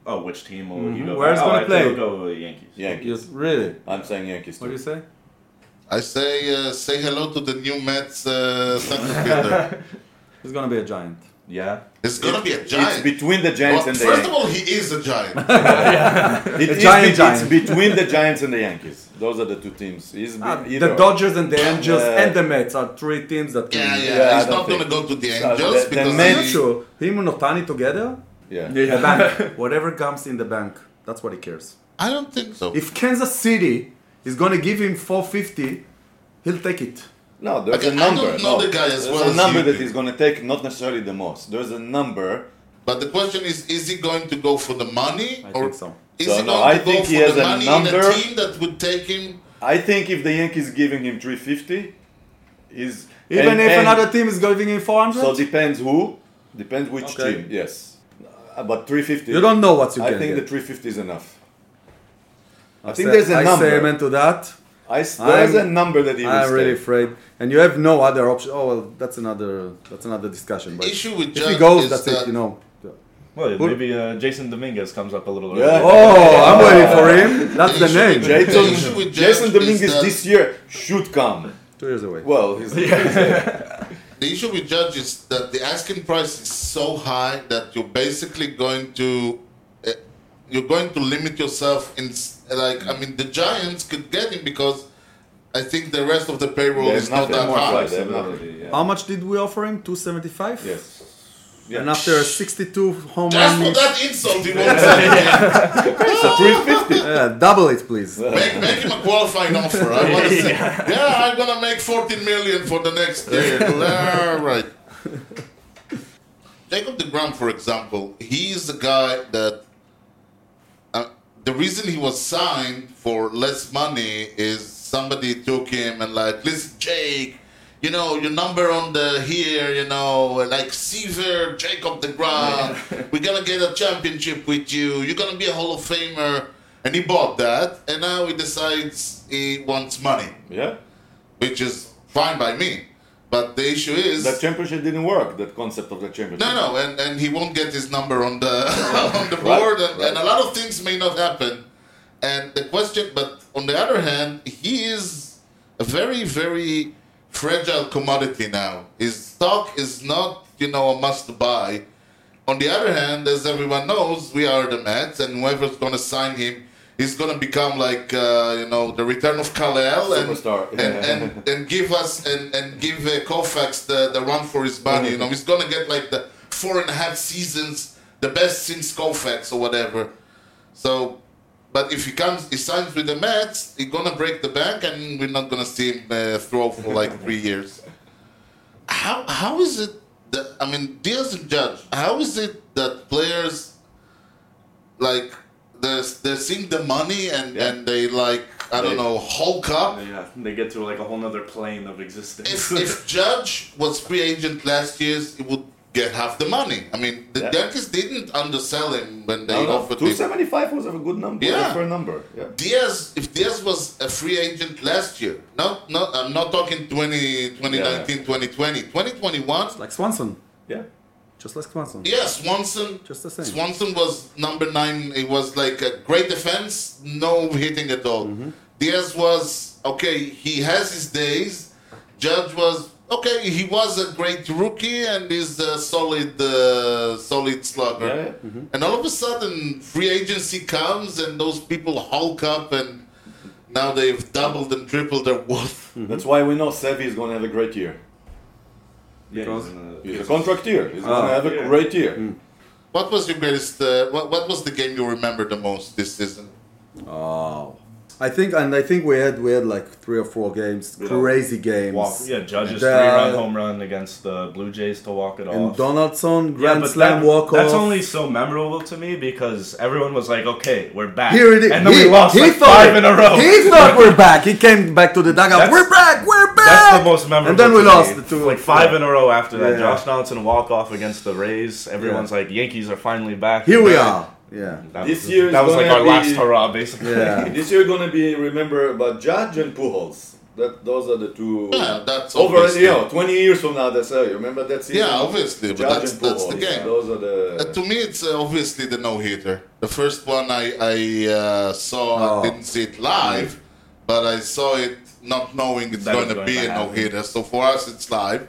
E: Oh, which team will
D: Mhm.
E: you go?
D: Where is
E: oh,
D: gonna
E: I
D: play?
E: think we'll go with the Yankees.
A: Yankees.
D: Yes, really.
A: I'm saying Yankees
D: What do you
A: too.
D: say?
B: I say uh, say hello to the new Mets uh, center fielder.
D: He's gonna be a giant.
E: Yeah.
B: It's gonna be a
A: It's
B: giant.
A: between the Giants
B: Well,
A: and the
B: first of
A: Yankees.
B: all, he is a giant.
A: It is
D: giant
A: be- it's
D: giant.
A: between the Giants and the Yankees. Those are the two teams. He's be-
D: Ah,
A: either
D: the
A: or.
D: Dodgers and the Angels
A: Yeah.
D: and the Mets are three teams that can.
B: yeah, yeah,
A: Yeah, I
B: He's
A: don't
B: not gonna
A: think-
B: go to the
A: So,
B: Angels
A: the- the
B: because
D: I'm
A: Mets-
D: not
B: he-
D: sure. Him and Otani together,
A: Yeah.
D: the bank, whatever comes in the bank, that's what he cares.
B: I don't think so.
D: If Kansas City is gonna give him 450, he'll take it.
A: No, there's
B: Okay,
A: a
B: I
A: number.
B: don't know
A: no.
B: the guy as
A: there's
B: well
A: a
B: as
A: number
B: you
A: that
B: do.
A: he's going to take, not necessarily the most. There's a number.
B: but the question is, is he going to go for the money,
D: I
B: or
D: think so.
B: is
A: So,
B: he
A: no,
B: going
A: I
B: to
A: think
B: go
A: he
B: for
A: has
B: the
A: a
B: money in
A: number.
B: a team that would take him?
A: I think if the Yankees giving him 350, is
D: Even
A: and-
D: if
A: and-
D: another team is giving him 400,
A: So depends who, depends which
D: Okay.
A: team. Yes, Uh, but 350.
D: you don't know what you
A: I
D: can
A: think
D: get.
A: the 350 is enough. I,
D: say-
A: think there's a
D: I say
A: number.
D: amen to that.
A: I s- there's
D: I'm-
A: a number that he will
D: I'm Ah, really
A: stay.
D: afraid. And you have no other option. Oh well, that's another that's another discussion. But
B: Issue with
D: if he
B: Judge
D: goes,
B: is
D: that's
B: that
D: it. You know.
E: Well,
D: Who-
E: maybe uh, Jason Dominguez comes up a little
A: Yeah.
E: early.
D: Oh, I'm waiting for him. That's the
B: Issue with
D: name.
B: Jay-
A: Jason,
B: The issue with
A: Jason
B: Judge
A: Dominguez
B: is that-
A: this year should come.
D: Two years away.
A: Well, he's,
B: The issue with Judge is that the asking price is so high that you're basically going to uh, you're going to limit yourself in s- like I mean the Giants could get him because I think the rest of the payroll
A: There's
B: is not
A: nothing
B: that
A: more
B: high.
A: price. They have nothing.
E: Yeah.
D: How much did we offer him? 275?
A: Yes.
D: And after 62 home
B: Just for
D: run,
B: that insult, he won't say
A: So 350.
D: yeah, double it, please.
B: make, make him a qualifying offer. I want to say, yeah, I'm gonna make 14 million for the next year. All right. Jacob DeGrom, for example, he's the guy that uh, the reason he was signed for less money is somebody took him and like, listen, Jake, you know your number on the here, you know, like Seaver, Jacob Degrom, we're gonna get a championship with you. You're gonna be a Hall of Famer, and he bought that, and now he decides he wants money,
A: Yeah.
B: which is fine by me. But the issue is
A: That championship didn't work. That concept of the championship.
B: no, no, and, and he won't get his number on the on the
A: Right,
B: board, and,
A: right.
B: and a lot of things may not happen. And the question, but on the other hand, he is a very very fragile commodity now. His stock is not you know a must buy. On the other hand, as everyone knows, we are the Mets, and whoever's going to sign him is going to become like uh, you know the return of Kal-El and,
A: Superstar.
B: and, and and give us and and give uh, Koufax the, the run for his money. You know he's going to get like the four and a half seasons, the best since Koufax or whatever. So, but if he comes, he signs with the Mets, he's going to break the bank, and we're not going to see him uh, throw for like three years how how is it that I mean Diaz and Judge? How is it that players like they're, they're seeing the money and
A: Yeah.
B: and they like I don't
A: They-
B: know Hulk up?
E: Oh, Yeah, they get to like a whole nother plane of existence.
B: If if Judge was free agent last year's, he would get half the money. I mean the
A: Yeah.
B: Yankees didn't undersell him when they
A: No, no,
B: offered him.
A: 275 was a good number.
B: Yeah.
A: Yeah. For a number. Yeah.
B: Diaz, if Diaz was a free agent last year, not not I'm not talking 20, 2019, 2020, 2021.
D: Like Swanson.
A: Yeah.
D: Just like Swanson.
B: Yeah, Swanson.
D: Just the same.
B: Swanson was number nine. It was like a great defense, no hitting at all.
A: Mm-hmm.
B: Diaz was okay. He has his days. Judge was okay. He was a great rookie and is a solid, uh, solid slugger.
A: Yeah, yeah.
B: And all of a sudden, free agency comes and those people hulk up and now they've doubled and tripled their worth.
A: That's why we know Sevi is going to have a great year.
E: yeah,
D: because-
A: He's a contracteer. He's going
D: Ah.
A: to have a
E: Yeah.
A: great year.
B: What was your greatest? Uh, what, what was the game you remember the most this season?
D: Oh. I think, and I think we had we had like three or four games,
E: Yeah.
D: crazy games.
E: walk. Yeah, Judge's
D: The-
E: three-run home run against the Blue Jays to walk it
D: And
E: off.
D: Donaldson,
E: Yeah,
D: Grand
E: but
D: Slam,
E: that-
D: walk off.
E: That's only so memorable to me because everyone was like, "Okay, we're back."
D: Here it is.
E: And then we lost like
D: thought-
E: five in a row.
D: He thought we're back. He came back to the dugout.
E: That's-
D: we're back. We're
E: That's the most memorable.
J: And then we
E: to
J: lost
E: me.
J: the two-
E: like five in a row after that.
J: Yeah.
E: Josh Donaldson walk off against the Rays. Everyone's like, Yankees are finally back.
J: Here we
E: That-
J: are. Yeah.
E: That
A: This
E: was,
A: year is
E: that was like
A: gonna
E: our last
A: be-
E: hurrah, basically.
J: Yeah.
A: This year gonna be remember about Judge and Pujols. That those are the two.
B: Yeah, that's
A: over
B: obviously.
A: you know, 20 years from now. That's uh, you remember that season.
B: Yeah, obviously, but
A: Judge
B: that's-
A: and
B: that's
A: Pujols.
B: the game.
A: Those are the.
B: Uh, to me, it's uh, obviously the no hitter. The first one I, I uh, saw,
J: Oh.
B: I didn't see it live, but I saw it not knowing it's
E: That
B: going
E: it's
B: to
E: going
B: be
E: to
B: a no
E: happen.
B: hitter. So for us, it's live.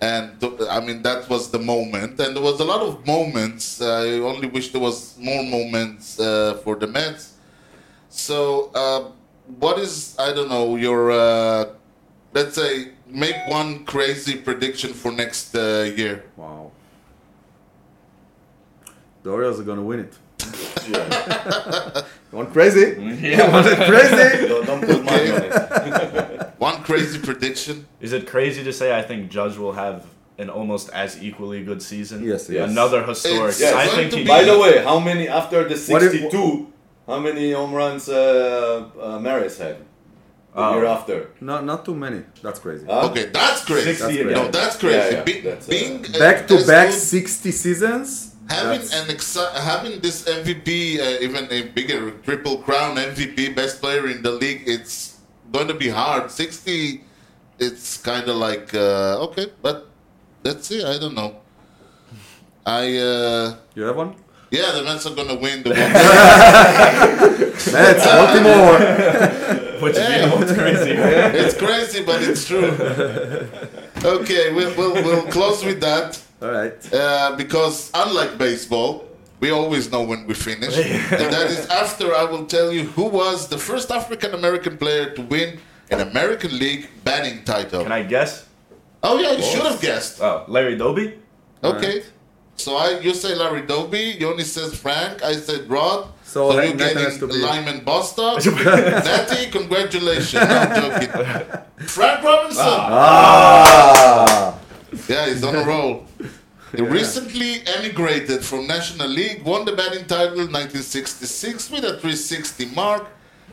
B: And th- I mean, that was the moment. And there was a lot of moments. I only wish there was more moments uh, for the Mets. So, uh, what is, I don't know, your, uh, let's say, make one crazy prediction for next uh, year?
J: Wow. The Orioles are gonna win it.
A: yeah.
J: Going crazy. Yeah. Going crazy.
A: don't, don't put money on it.
B: One crazy prediction?
E: Is it crazy to say I think Judge will have an almost as equally good season?
J: Yes, yes.
E: Another historic.
B: It's-
E: I
B: it's
E: think
B: going
E: he.
B: to be-
A: By the way, how many after the
J: What if-
A: 62? how many home runs uh, uh, Maris had the
J: Ah.
E: Oh.
A: year after? Ah,
J: No, not too many. That's crazy.
A: Huh?
B: Okay, that's crazy.
E: 60,
J: That's
B: no,
E: yeah.
B: that's crazy.
A: Yeah, yeah,
B: Be-
A: that's, uh,
B: being uh,
J: Back to
B: as
J: back
B: good-
J: 60 seasons.
B: having
J: That's-
B: an exci- having this MVP, uh, even a bigger triple crown MVP, best player in the league, it's going to be hard. Sixty, it's kind of like uh, okay, but let's see. I don't know. I uh,
J: You have one?
B: yeah, the Mets are going to win the World
J: That's Baltimore.
E: Which is
B: Hey.
E: even more crazy.
B: It's crazy, but it's true. Okay, we'll, we'll, we'll close with that.
J: All right.
B: Uh, because unlike baseball, we always know when we finish. and that is after I will tell you who was the first African American player to win an American League batting title.
E: Can I guess?
B: oh yeah, you should have guessed.
E: Oh, Larry Doby.
B: Okay. So I, you say Larry Doby, Yoni says Frank, I said Rod.
J: So
B: So,
J: hey,
B: you
J: nothing
B: getting
J: has to be-
B: Lyman Bostock. Natty, congratulations. No, I'm joking. Frank Robinson.
J: Ah.
B: Yeah, he's on a roll. He recently emigrated from National League, won the batting title in 1966 with a 360 mark,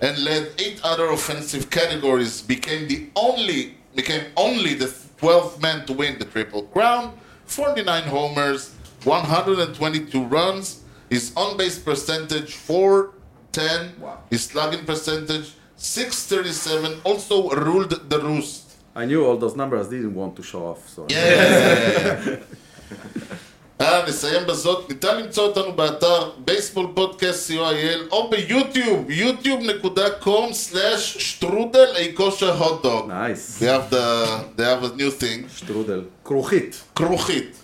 B: and led eight other offensive categories. Became the only became only the 12th man to win the Triple Crown. 49 homers, 122 runs. His on-base percentage 410.
J: Wow.
B: His slugging percentage 637. Also ruled the roost.
J: I knew all those numbers. Didn't want to show off. So.
B: אה, נסיים בזאת, ניתן למצוא אותנו באתר בייסבול פודקאסט co.il או ביוטיוב, yוטיוב.com/שטרודל אי כושר הוטדוג.
J: Nice.
B: They have the, they have a new thing,
J: Strudel. כרוכית.
B: כרוכית.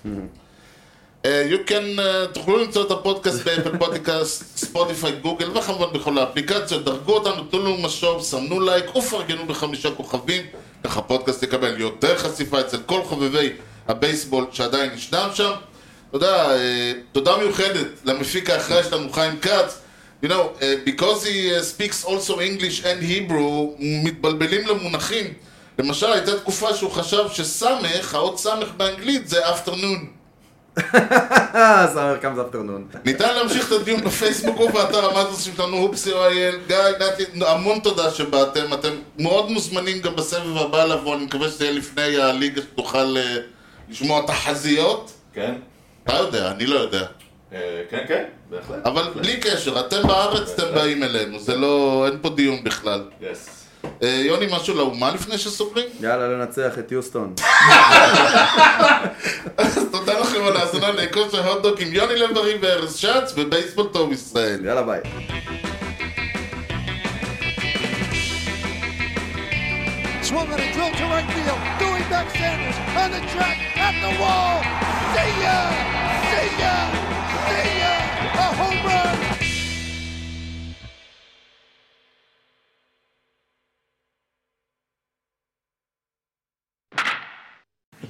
B: אה, you can, אה, תוכלו למצוא את הפודקאסט באפל פודקאסט, ספוטיפיי, גוגל וכמובן בכל האפליקציות. דרגו אותנו, תנו לנו משוב, סמנו לייק ופרגנו בחמישה כוכבים. ככה הפודקאסט יקבל יותר חשיפה אצל כל חובבי הבייסבול שעדיין ישנם שם. תודה, אה, תודה מיוחדת למפיק האחראי שלנו, חיים כץ. You know, uh, because he uh, speaks also English and Hebrew, מתבלבלים למונחים. למשל, הייתה תקופה שהוא חשב שסמך, האות סמך באנגלית זה afternoon.
J: אה, סאמר קאמס אפטרנון.
B: ניתן להמשיך את הדיון בפייסבוק ובאתר המאזרסים שלנו, הופסי אוהל, גיא, נתי, המון תודה שבאתם, אתם מאוד מוזמנים גם בסבב הבא לבוא, אני מקווה שזה יהיה לפני הליגה שתוכל אה, לשמוע תחזיות.
A: כן?
B: אתה יודע, אני לא יודע.
A: אה, כן, כן, בהחלט.
B: אבל בלי קשר, אתם בארץ, אתם באים אלינו, זה לא, אין פה דיון בכלל.
A: Yes.
B: אה, יוני, משהו לאומה לפני שסוגרים?
J: יאללה, לנצח את יוסטון.
B: אז תודה לכם על ההאזנה לכושר הוטדוק עם יוני לב-ארי וארז שץ ובייסבול טוב ישראל.
J: יאללה, ביי.
F: Swung on a drill to right field. Doing back Sanders on the track at the wall. See ya! See ya! See ya! A home run!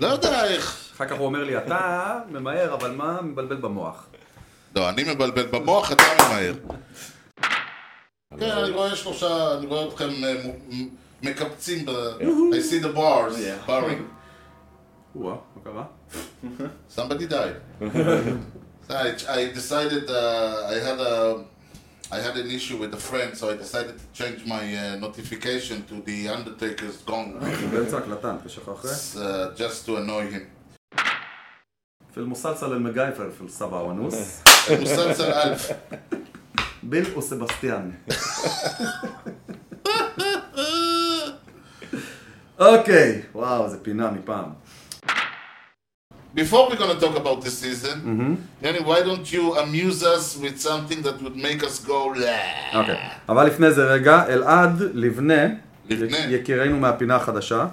B: לא יודע איך.
J: אחר כך הוא אומר לי, אתה ממהר, אבל מה מבלבל במוח?
B: לא, אני מבלבל במוח, אתה ממהר. כן, אני רואה שלושה, אני רואה אתכם אה, מ- מ- מקבצים ב... I see the bars, barring.
J: או-אה, מה קרה?
B: Somebody died. So I, I decided uh, I had a I had an issue with a friend, so I decided to change my uh, notification to the Undertaker's gong.
D: באמצע הקלטה, תשכחו.
J: אה?
B: uh, just to annoy him.
D: بالمسلسل المجايفر في السبعة ونص
J: אה.
B: مسلسل ألف
D: بيل وسيباستيان אוקיי, וואו, זה פינה מפעם.
B: Before we're going to talk about this season, Yanni, why don't you amuse us with something that would make us go "Lah."
D: אוקיי. אבל לפני זה רגע, אלעד לבנה,
B: לבנה.
D: יק- יקירנו מהפינה החדשה.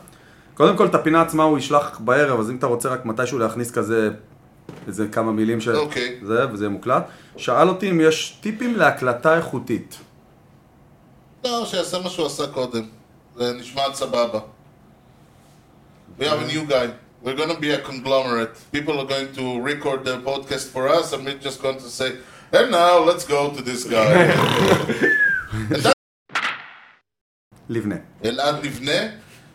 D: קודם כל, את הפינה עצמה הוא ישלח בערב, אז אם אתה רוצה רק מתישהו להכניס כזה, איזה כמה מילים של...
B: אוקיי.
D: זה, וזה יהיה מוקלט. שאל אותי אם יש טיפים להקלטה איכותית.
B: לא, שיעשה מה שהוא עשה קודם. זה נשמע סבבה. We have a new guy. We're going to be a conglomerate. People are going to record their podcast for us, and we're just going to say, and now let's go to this guy.
D: לבנה.
B: אלעד לבנה,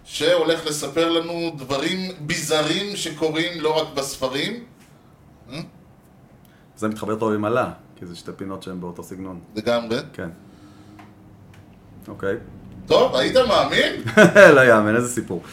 B: שהולך לספר לנו דברים ביזאריים שקורים לא רק בספרים,
D: זה מתחבר טוב עם עלה, כי זה שתי פינות שהן באותו סגנון.
B: לגמרי.
D: כן. אוקיי.
B: טוב, היית מאמין?
D: לא יאמן, איזה סיפור.